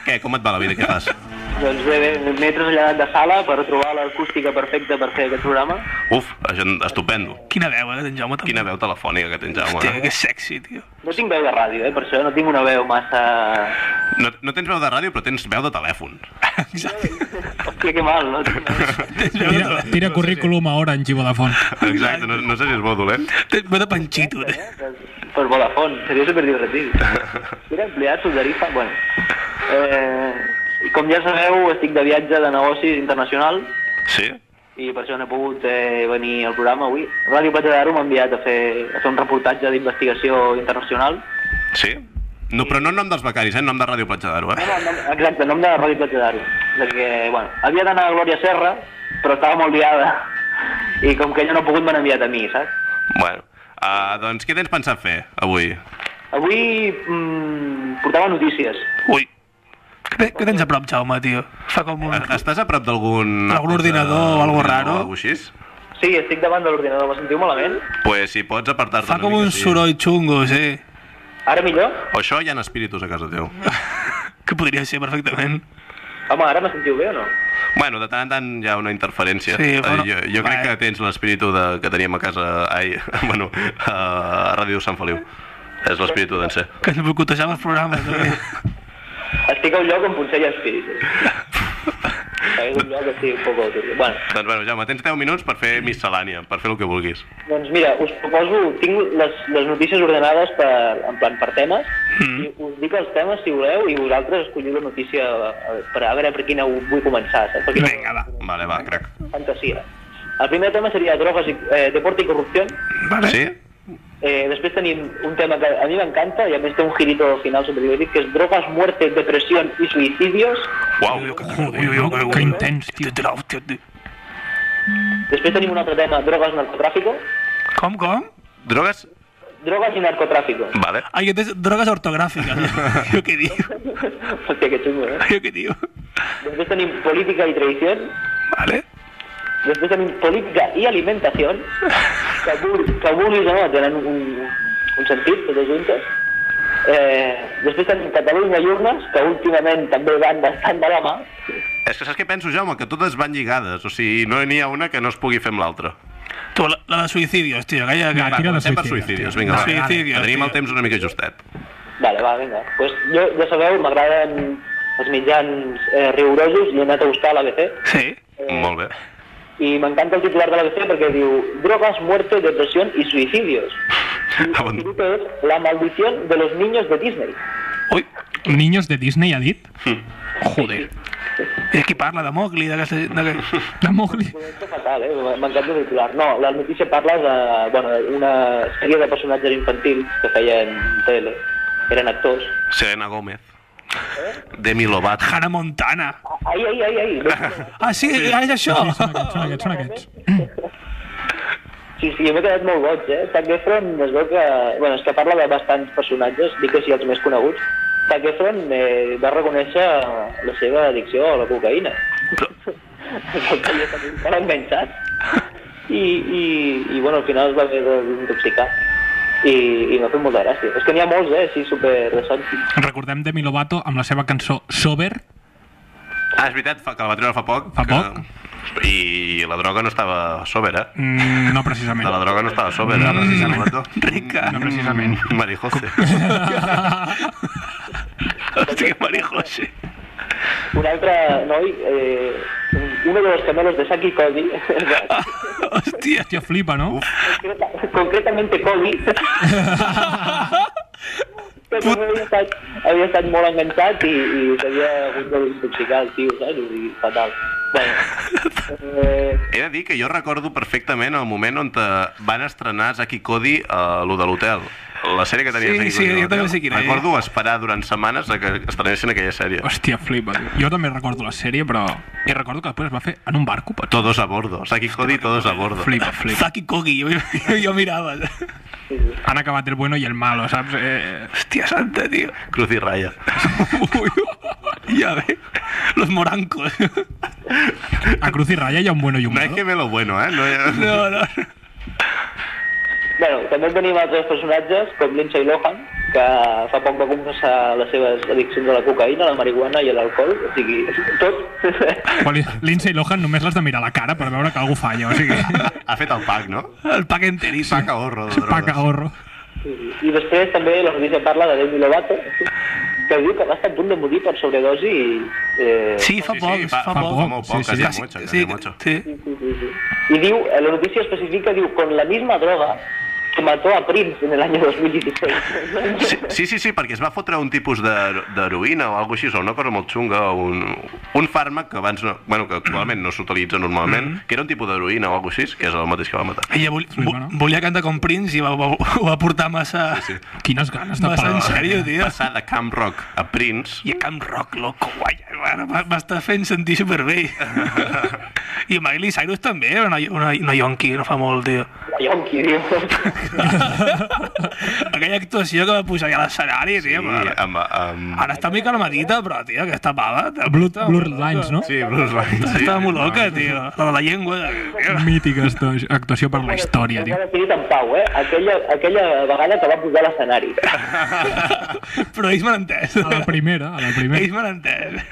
S1: Què, com et va la vida? Què fas?
S8: Doncs bé, bé m'he traslladat de sala per trobar l'acústica perfecta per fer aquest programa.
S1: Uf, això, estupendo.
S2: Quina veu, eh, d'en Jaume també.
S1: Quina veu telefònica que tens, Jaume. eh?
S3: eh?
S2: Hòstia, que sexy, tio.
S8: No tinc veu de ràdio, eh? per això no tinc una veu massa...
S1: No, no tens veu de ràdio, però tens veu de telèfon.
S2: Exacte.
S8: Hòstia, que mal, no? Tinc veu.
S3: Tira, tira currículum a hora en Gibo de Font.
S1: Exacte, no, no sé si és bo o dolent.
S2: Té veu de panxito, eh?
S8: Per Vodafone, seria superdivertit. Era empleat, subderifa... Bueno. Eh, com ja sabeu, estic de viatge de negocis internacional
S1: Sí?
S8: i per això no he pogut eh, venir al programa avui. Ràdio Platja d'Aro m'ha enviat a fer, a fer un reportatge d'investigació internacional
S1: Sí? No, però no en nom dels becaris, eh? En nom de Ràdio Platja d'Aro, eh?
S8: No, no, no, Exacte, el nom de la Ràdio Platja d'Aro. Perquè, bueno, havia d'anar a Glòria Serra, però estava molt liada. I com que ella no ha pogut, m'han enviat a mi, saps?
S1: Bueno, uh, doncs què tens pensat fer avui?
S8: Avui mm, portava notícies.
S1: Ui.
S2: Què, què tens a prop, Jaume, tio? Fa com
S3: Ah,
S2: un...
S1: Estàs a prop d'algun... eh,
S2: Algun ordinador o algo raro?
S1: O alguna així?
S8: Sí, estic davant de l'ordinador, me sentiu malament?
S1: Pues si pots apartar-te
S2: Fa
S1: una
S2: com
S1: mica,
S2: un
S1: sí.
S2: soroll xungo, sí.
S8: Ara millor?
S1: O això hi ha espíritus a casa teu.
S2: Que podria ser perfectament.
S8: Home, ara me sentiu bé o no?
S1: Bueno, de tant en tant hi ha una interferència.
S2: Sí, però-
S1: Eh, jo, jo crec
S2: Vale.
S1: que tens l'espíritu de- que teníem a casa, ai, bueno, a Ràdio Sant Feliu. És l'espíritu d'en ser.
S2: Que ens boicotejava els programes. també.
S8: Estic a un lloc on potser hi ha espíritu. Estic a un lloc que estic un poc autor. Bueno,
S1: Doncs bueno, Jaume, tens 10 minuts per fer miscel·lània, per fer el que vulguis.
S8: Doncs mira, us proposo, tinc les, les notícies ordenades per, en plan per temes, mm. i us dic els temes, si voleu, i vosaltres escolliu la notícia eh, per a veure per quina ho vull començar, saps? Per quina
S2: Vinga, va.
S1: Vale, va, crec.
S8: fantasia. El primer tema seria drogues i, eh, deporte i corrupció.
S2: Vale.
S1: Sí?
S8: Eh, després tenim un tema que a mi m'encanta, i a més té un girito al final superdivertit, que és drogues, muerte, depressió i suïcidios.
S1: Uau.
S2: Ui, ui, ui, ui,
S3: Ah, Que intens,
S2: tio. Tio, tio, tio.
S8: Després tenim un altre tema, drogues, narcotráfico.
S2: Com, com?
S1: Drogues?
S8: Drogues i narcotráfico.
S1: Vale.
S2: Ai, que tens drogues ortogràfiques. Jo què diu?
S8: Hòstia, que xungo, eh?
S2: Jo què diu?
S8: Després tenim política i tradició.
S2: Vale.
S8: Després tenim política i alimentació, que, vul, que vulguis o no, tenen un, un sentit, totes juntes. Eh, després tenim Catalunya i urnes, que últimament també van bastant de la mà.
S1: És que saps què penso, Jaume? Que totes van lligades. O sigui, no n'hi ha una que no es pugui fer amb l'altra.
S2: Tu, la, la de suïcidios, tio. Calla,
S3: Va,
S2: calla.
S3: tira de
S1: Comencem per
S3: suïcidi.
S1: suïcidios, vinga, va.
S2: Suïcidios,
S1: Que tenim
S2: tio.
S1: el temps una mica justet.
S8: Vale, va, vinga. Pues jo, ja sabeu, m'agraden els mitjans eh, rigorosos i he anat a buscar a l'ABC.
S2: Sí.
S1: Molt bé.
S8: I m'encanta el titular de l'ABC perquè diu Drogas, muerte, depresión y suicidios. I
S1: Ah,
S8: el
S1: bon.
S8: títol és La maldición de los niños de Disney.
S2: Ui,
S3: Niños de Disney ha dit? Joder.
S2: és qui parla de Mowgli, d'aquesta... d'aquest-
S3: La Mowgli.
S8: Esto fatal, eh? M'encanta el titular. No, la notícia parla de, bueno, una sèrie de personatges infantils que feien tele. Eren actors.
S1: Serena Gómez. Demi Lovato.
S2: Hannah Montana.
S8: Ai, ai, ai, ai.
S2: Ah, sí, sí. és això.
S3: Sí, són aquests, són aquests, són aquests.
S8: Sí, sí, m'he quedat molt boig, eh? Zac Efron es veu que... Bueno, és que parla de bastants personatges, dic que sí, els més coneguts. Zac Efron eh, va reconèixer la seva addicció a la cocaïna. Es veu que ja tenia encara enganxat. I, i, I, bueno, al final es va haver d'intoxicar. I, i m'ha fet molta gràcia. És que n'hi ha molts, eh? Sí, super recèntims.
S3: Recordem Demi Lovato amb la seva cançó Sober.
S1: Ah, és veritat, fa- que la va treure fa poc.
S3: Fa
S1: que...
S3: poc.
S1: I la droga no estava sober, eh?
S3: Mm, no precisament.
S1: De la droga no estava sober, eh? Precisament. Mm.
S2: Rica.
S3: No precisament.
S1: Marijose.
S2: Hòstia, que marijose.
S8: Un altre noi, eh, uno de los gemelos de Saki Cody,
S2: Hòstia.
S3: Hòstia, flipa, no? Uf.
S8: concreta- concretamente Cody, que havia estat, havia estat molt enganxat i, i s'havia hagut d'intoxicar el tio, saps? O sigui, fatal. Bueno, eh,
S1: He de dir que jo recordo perfectament el moment on te van estrenar Zaki Cody a lo de l'hotel. La sèrie que tenies
S2: Sí,
S1: aquí,
S2: sí,
S1: Cody,
S2: jo
S1: l'hotel.
S2: també sé quina eh. és.
S1: Recordo esperar durant setmanes a que estrenessin aquella sèrie.
S3: Hòstia, flipa. tio. Jo també recordo la sèrie, però... I recordo que després es va fer en un barco, però...
S1: Todos a bordo. Zaki Cody, todos a bordo.
S3: Flipa, flipa.
S2: Zaki Kogi, jo, jo, jo mirava.
S3: Han acabat el bueno i el malo, saps? Eh...
S2: Hòstia santa, tio.
S1: Cruz y Raya.
S2: Ui, ya ve. Los morancos.
S3: A Cruz i Raya hi ha un bueno i un
S1: No hay
S3: malo.
S1: que ver lo bueno, ¿eh? No, hay-
S2: No, no.
S8: bueno, també tenim altres personatges, com Lindsay Lohan, que fa poc va confessar les seves addiccions a la cocaïna, la marihuana i a l'alcohol, o sigui, tot.
S3: Quan li- Lindsay Lohan només l'has de mirar a la cara per veure que algú falla, o sigui...
S1: Ha fet el pack, no?
S2: El pack enterito.
S1: Pack a borro. de
S3: Pa
S1: drogues.
S3: cagorro.
S8: I després també la notícia parla de Demi Lovato, que diu que va estar a punt de morir per sobredosi i... Eh,
S2: Sí, fa
S1: Sí, sí,
S2: poc,
S1: fa-
S2: fa
S1: fa
S2: poc.
S1: Como poc,
S3: Sí, sí.
S1: casi
S3: Casi-
S1: mucho, casi
S2: Sí,
S1: mucho.
S2: sí.
S8: sí, sí, sí. Y diu, eh, la noticia especifica, diu, con la misma droga que mató a Prince en el año 2016.
S1: Sí, sí, sí, sí, perquè es va fotre un tipus de- d'heroïna o alguna així, o una cosa molt xunga, o un, un fàrmac que abans no, bueno, que actualment no s'utilitza normalment, que era un tipus d'heroïna o alguna cosa així, que és el mateix que va matar.
S2: Ella vol,
S3: Flipa, no?
S2: vo- volia cantar com Prince i va, va, ho va portar massa... Sí, sí.
S3: Quines ganes de eh?
S2: Massa en
S3: pelar.
S2: sèrio, tio.
S1: Passar de Camp Rock a Prince,
S2: I a Camp Rock, loco, guai, eh, bueno, m'ha- m'està fent sentir superbé. I Miley Cyrus també, era una, una, una yonqui, no fa molt, tio.
S8: La Yonki, diu.
S2: Aquella actuació que va pujar allà a l'escenari,
S1: i
S2: tio. però-
S1: amb, amb...
S2: Ara està mica armadita, però, tio, aquesta pava...
S3: Blue, Blur Lines, no?
S1: Sí, Bruce Wayne. Sí.
S2: Estava molt loca, tio. La de la llengua... tio.
S3: Mítica actu- actuació per la història,
S8: Va
S3: tio.
S8: definit en pau, eh? Aquella, aquella vegada que va pujar a l'escenari.
S2: Però ells m'han entès.
S3: Ah, A la primera, a la
S2: Ells
S3: primera.
S2: m'han entès.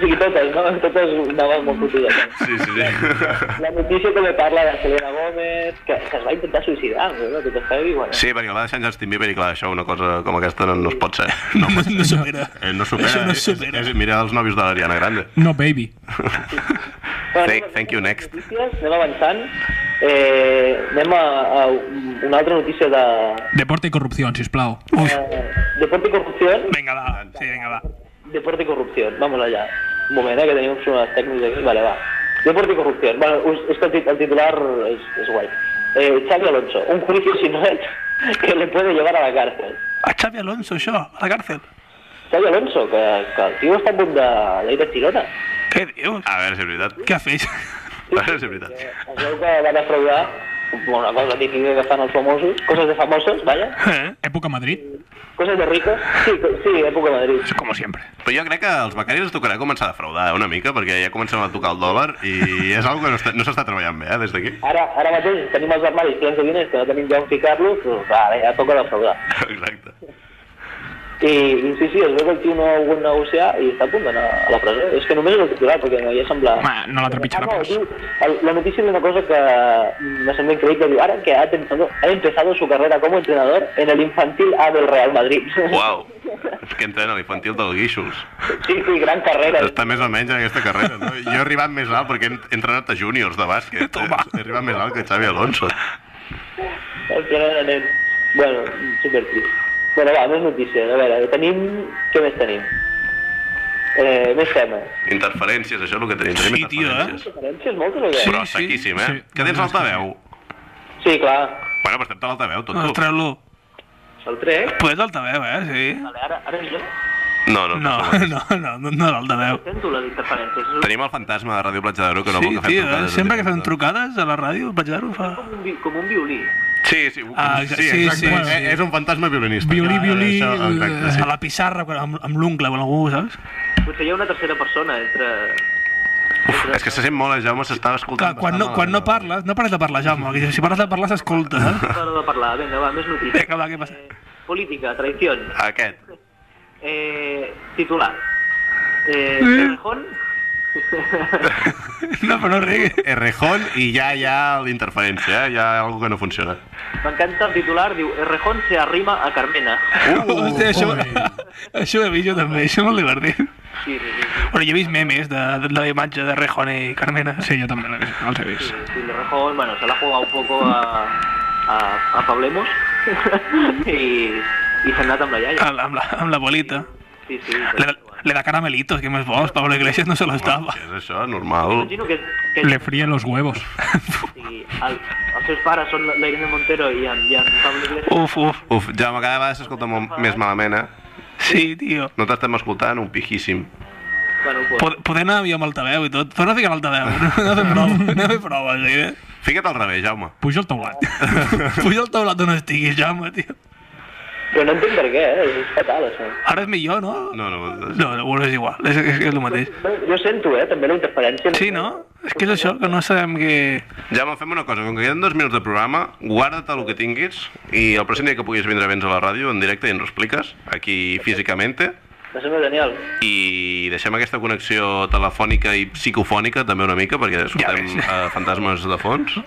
S8: O sigui, totes, no? Totes anaven molt fotudes.
S1: Sí, sí, sí.
S8: La notícia també parla de Selena Gomez, que, que es va intentar suïcidar, no? Tot això, i bueno...
S1: Sí, perquè va deixar en Justin Bieber i clar, això una cosa com aquesta no, no es pot ser. No,
S2: No, no supera.
S1: eh, no supera.
S2: Això no
S1: és-
S2: supera.
S1: És, és, mira els nòvios de l'Ariana Grande.
S3: No, baby.
S1: thank, thank you, next.
S8: Notícies, anem avançant. Eh, anem a, a una altra notícia de...
S3: Deporte i corrupció, sisplau. Uf,
S8: Eh, Deporte i corrupció.
S2: Vinga, va. Sí, vinga, va.
S8: Deporte y corrupción, vamos allá. Un momento, eh, que tenemos unas técnicas aquí. Vale, va. Deporte y corrupción. Bueno, us- es que el, tit- el titular es, es guay. Eh, Xavi Alonso, un juicio sin red que le puede llevar a la cárcel.
S2: A Xavi Alonso, això, a la càrcel.
S8: Xavi Alonso, que, que el tio està a punt de llei de Girona.
S2: Què dius?
S1: A veure si és veritat.
S2: Què ha fet?
S1: A veure si és veritat.
S8: Es veu que va defraudar una cosa típica que fan els famosos, coses de famosos, vaya,
S2: Eh?
S3: època Madrid.
S8: coses de ricos, sí, co- sí, època Madrid.
S2: Això com sempre.
S1: Però jo crec que els becaris es tocarà començar a defraudar eh, una mica, perquè ja comencem a tocar el dòlar i és algo que no està- no s'està treballant bé, eh, des d'aquí.
S8: Ara, ara mateix tenim els armaris plens de diners que no tenim ja on ficar-los, però clar, ara ja toca defraudar.
S1: Exacte.
S8: I, i sí, sí, es veu que el tio no ha volgut negociar i està a punt d'anar a la presó. És que només és el titular, perquè no hi ha semblat...
S3: Home, no la trepitjarà
S8: Ah, no,
S3: pas.
S8: diu, el, la notícia és una cosa que me sembla increïble. Diu, ara que ha, empezado, ha empezado su carrera como entrenador en el infantil A del Real Madrid.
S1: Uau, és que entrena l'infantil del Guíxols.
S8: sí, sí, gran carrera.
S1: Està més o menys en aquesta carrera, no? Jo he arribat més alt perquè he he entrenat a júniors de bàsquet. eh?
S2: Toma.
S1: He arribat més alt que Xavi Alonso.
S8: El primer de nen. Bueno, super trist. Bueno, va, més notícies. A veure, tenim... Què més tenim? Eh, més temes.
S1: Interferències, això és el que tenim. tenim
S2: Sí, tio, eh?
S1: interferències.
S8: Referències moltes o què?
S1: Però
S2: Sí, sí.
S1: sequíssim, eh?
S3: Sí.
S1: Que tens
S3: No, no,
S1: l'altaveu?
S8: Sí, clar.
S1: Bueno, però estem a l'altaveu, tot tu.
S2: Treu-lo.
S8: El trec.
S2: Poder d'altaveu, eh? Sí.
S8: Vale, ara, ara millor.
S1: No, no,
S2: No,
S1: no.
S2: no, no, no, no d'altaveu.
S8: Sento les interferències. És
S1: Tenim el fantasma de Ràdio Platja d'Aro que no
S2: Sí,
S1: vol que fem
S2: tio, eh?
S1: trucades.
S2: sempre que fem trucades a la ràdio, vaig veure fa...
S8: un vi- com un violí.
S1: Sí, sí,
S2: Ah,
S1: sí,
S2: exacte,
S1: sí,
S2: sí,
S1: exacte.
S2: sí,
S1: Bueno, eh,
S2: sí.
S1: És un fantasma violinista.
S3: Violí,
S1: Clar,
S3: violí,
S1: això, Exacte, sí.
S2: eh, A la pissarra, quan- amb, amb l'oncle o amb algú, saps?
S8: Potser hi ha una tercera persona entre...
S1: Uf, és que se sent molt, eh, Jaume s'estava
S2: Clar,
S1: escoltant.
S2: quan no,
S1: bastant
S2: quan no
S3: eh?
S1: malament.
S2: parles, no pares de parlar, Jaume. que Si pares de parlar, s'escolta, saps?
S8: Hora de parlar, vinga, va, més notícies. Eh,
S2: Vinga, va, què passa?
S8: Política, traición.
S1: Aquest.
S8: Eh, titular. Eh, Rejón.
S2: No, però no riguis.
S1: Errejón i ja hi ha l'interferència, eh? hi ha alguna que no funciona.
S8: M'encanta el titular, diu Rejón se arrima a Carmena.
S3: Oh,
S2: Uh, Hòstia, això, això ho he vist jo també, això és molt divertit.
S8: Sí, sí, sí. sí,
S2: Bueno, jo he vist memes de, de, la imatge de Rejón i Carmena.
S3: Sí, jo també l'he vist, els he
S8: sí,
S3: vist.
S8: sí, el Rejón, bueno, se la ha jugado un poco a, a, a Pablemos i, i s'ha anat amb la iaia.
S2: Amb, la- amb, la, amb la bolita.
S8: Sí, sí.
S2: Le,
S8: Però...
S2: le da caramelitos, que més vols, Pablo Iglesias no se lo estava.
S1: Què és això? Normal.
S8: Imagino que, que
S3: Le fríen los huevos.
S8: Sí, el, els seus pares són la Irene Montero i en, i en Pablo Iglesias.
S2: Uf, uf.
S1: Uf, ja cada vegada s'escolta molt més malament, eh?
S2: Sí, tio.
S1: No t'estem escoltant, un pijíssim.
S8: Bueno, pues,
S2: Pod poder anar millor amb altaveu i tot. Torna a ficar l'altaveu. No, no fem prova. No fem prova, sí, eh?
S1: Fica't al revés, Jaume.
S3: Puja al teulat.
S2: Puja al teulat on estiguis, Jaume, tio.
S8: però no entenc per què, eh? és fatal això.
S2: Ara és millor, no?
S1: No, no,
S2: No, no, bueno, és igual. És, és, és el mateix.
S8: Bé, Jo sento, eh, també la interferència.
S2: Sí, no? És que és això, que no sabem què...
S1: Jaume, fem una cosa, com que queden dos minuts de programa, guarda't el que tinguis i el pròxim dia que puguis vindre vens a la ràdio en directe i ens ho expliques, aquí físicament,
S8: Me sembla genial.
S1: i deixem aquesta connexió telefònica i psicofònica també una mica, perquè escoltem
S2: ves.
S1: ja fantasmes de fons.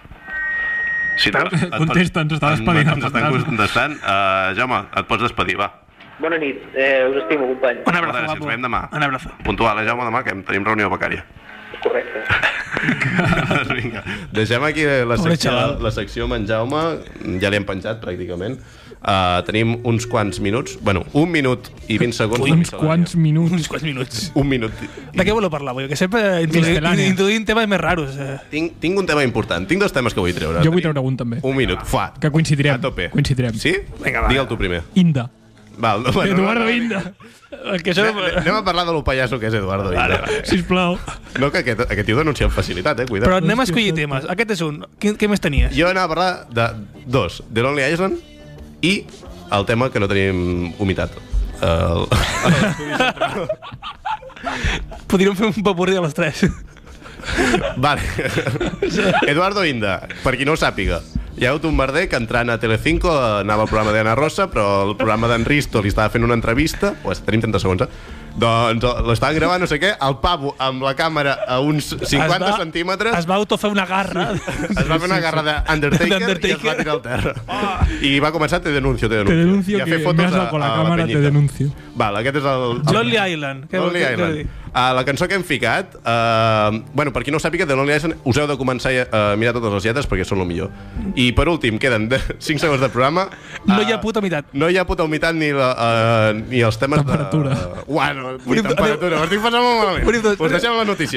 S1: Si et- et pots-
S3: Contesta, ens està despedint el
S1: Ens estan
S3: fantasma.
S1: contestant. Uh, Jaume, et pots despedir, va.
S8: Bona nit, eh, us estimo, company.
S2: Un abrazo,
S1: Moltes gràcies,
S2: guapo.
S1: veiem demà.
S2: Un abrazo.
S1: Puntual, eh, Jaume, demà, que hem- tenim reunió becària.
S8: Correcte.
S1: Vinga. Deixem aquí la
S2: Pobre
S1: secció,
S2: xaval.
S1: la secció amb en Jaume, ja l'hem penjat pràcticament. Uh, tenim uns quants minuts, bueno, un minut i 20 segons de
S3: Uns
S1: miscel·lània.
S3: quants minuts.
S2: Uns quants minuts.
S1: Un minut.
S2: De què voleu parlar? Perquè sempre introduïm,
S3: Miscel·lània.
S2: introduïm temes més raros. Eh?
S1: Tinc, tinc un tema important, tinc dos temes que vull treure.
S3: Jo vull
S1: Tenim
S3: treure un també.
S1: Un minut, fa,
S3: Que coincidirem.
S1: a tope.
S3: Coincidirem.
S1: Sí?
S2: Vinga, va.
S1: Digue'l tu primer.
S3: Inda.
S1: Val, bueno,
S3: Eduardo
S1: anem-
S3: Inda.
S2: Que això...
S1: Anem a parlar de lo pallasso que és Eduardo Inda.
S3: Sisplau.
S1: No, que aquest, aquest tio denuncia amb facilitat, eh? Cuidado.
S2: Però anem a escollir temes. Aquest és un. Què, què més tenies?
S1: Jo anava a parlar de dos, The Lonely Island i el tema que no tenim humitat. El...
S2: Podríem fer un papurri de les tres.
S1: vale. Eduardo Inda, per qui no ho sàpiga. Hi ha hagut un merder que entrant a Telecinco eh, anava al programa d'Anna Rosa, però el programa d'en Risto li estava fent una entrevista... Pues, tenim 30 segons, eh? Doncs l'estan gravant, no sé què, el pavo amb la càmera a uns 50
S2: Es va-
S1: centímetres
S2: Es va autofer una garra.
S1: es va fer una garra d'Undertaker i es va
S2: D'Undertaker.
S1: tirar al terra. I va començar Te denuncio, te denuncio.
S3: Ah. Te denuncio
S1: I a
S3: que
S1: fer fotos
S3: me has dado
S1: a-
S3: con la
S1: a
S3: cámara, te
S1: penyita.
S3: denuncio.
S1: Val, aquest és el... el
S2: Lonely Island. Què
S1: Lonely
S2: vol- què- què vol dir?
S1: Island. Uh, la cançó que hem ficat, uh, bueno, per qui no ho sàpiga, de Lonely Island us heu de començar a mirar totes les lletres perquè són el millor. I per últim, queden 5 segons de programa.
S2: No hi ha
S1: Ah,
S2: puta meitat.
S1: No hi ha puta humitat ni, la, uh, ni els temes
S3: Temperatura.
S1: de... Temperatura. Bueno, vull
S2: Anem-
S1: temperatura, m'estic passant molt malament.
S2: Anem-
S1: Us deixem la notícia.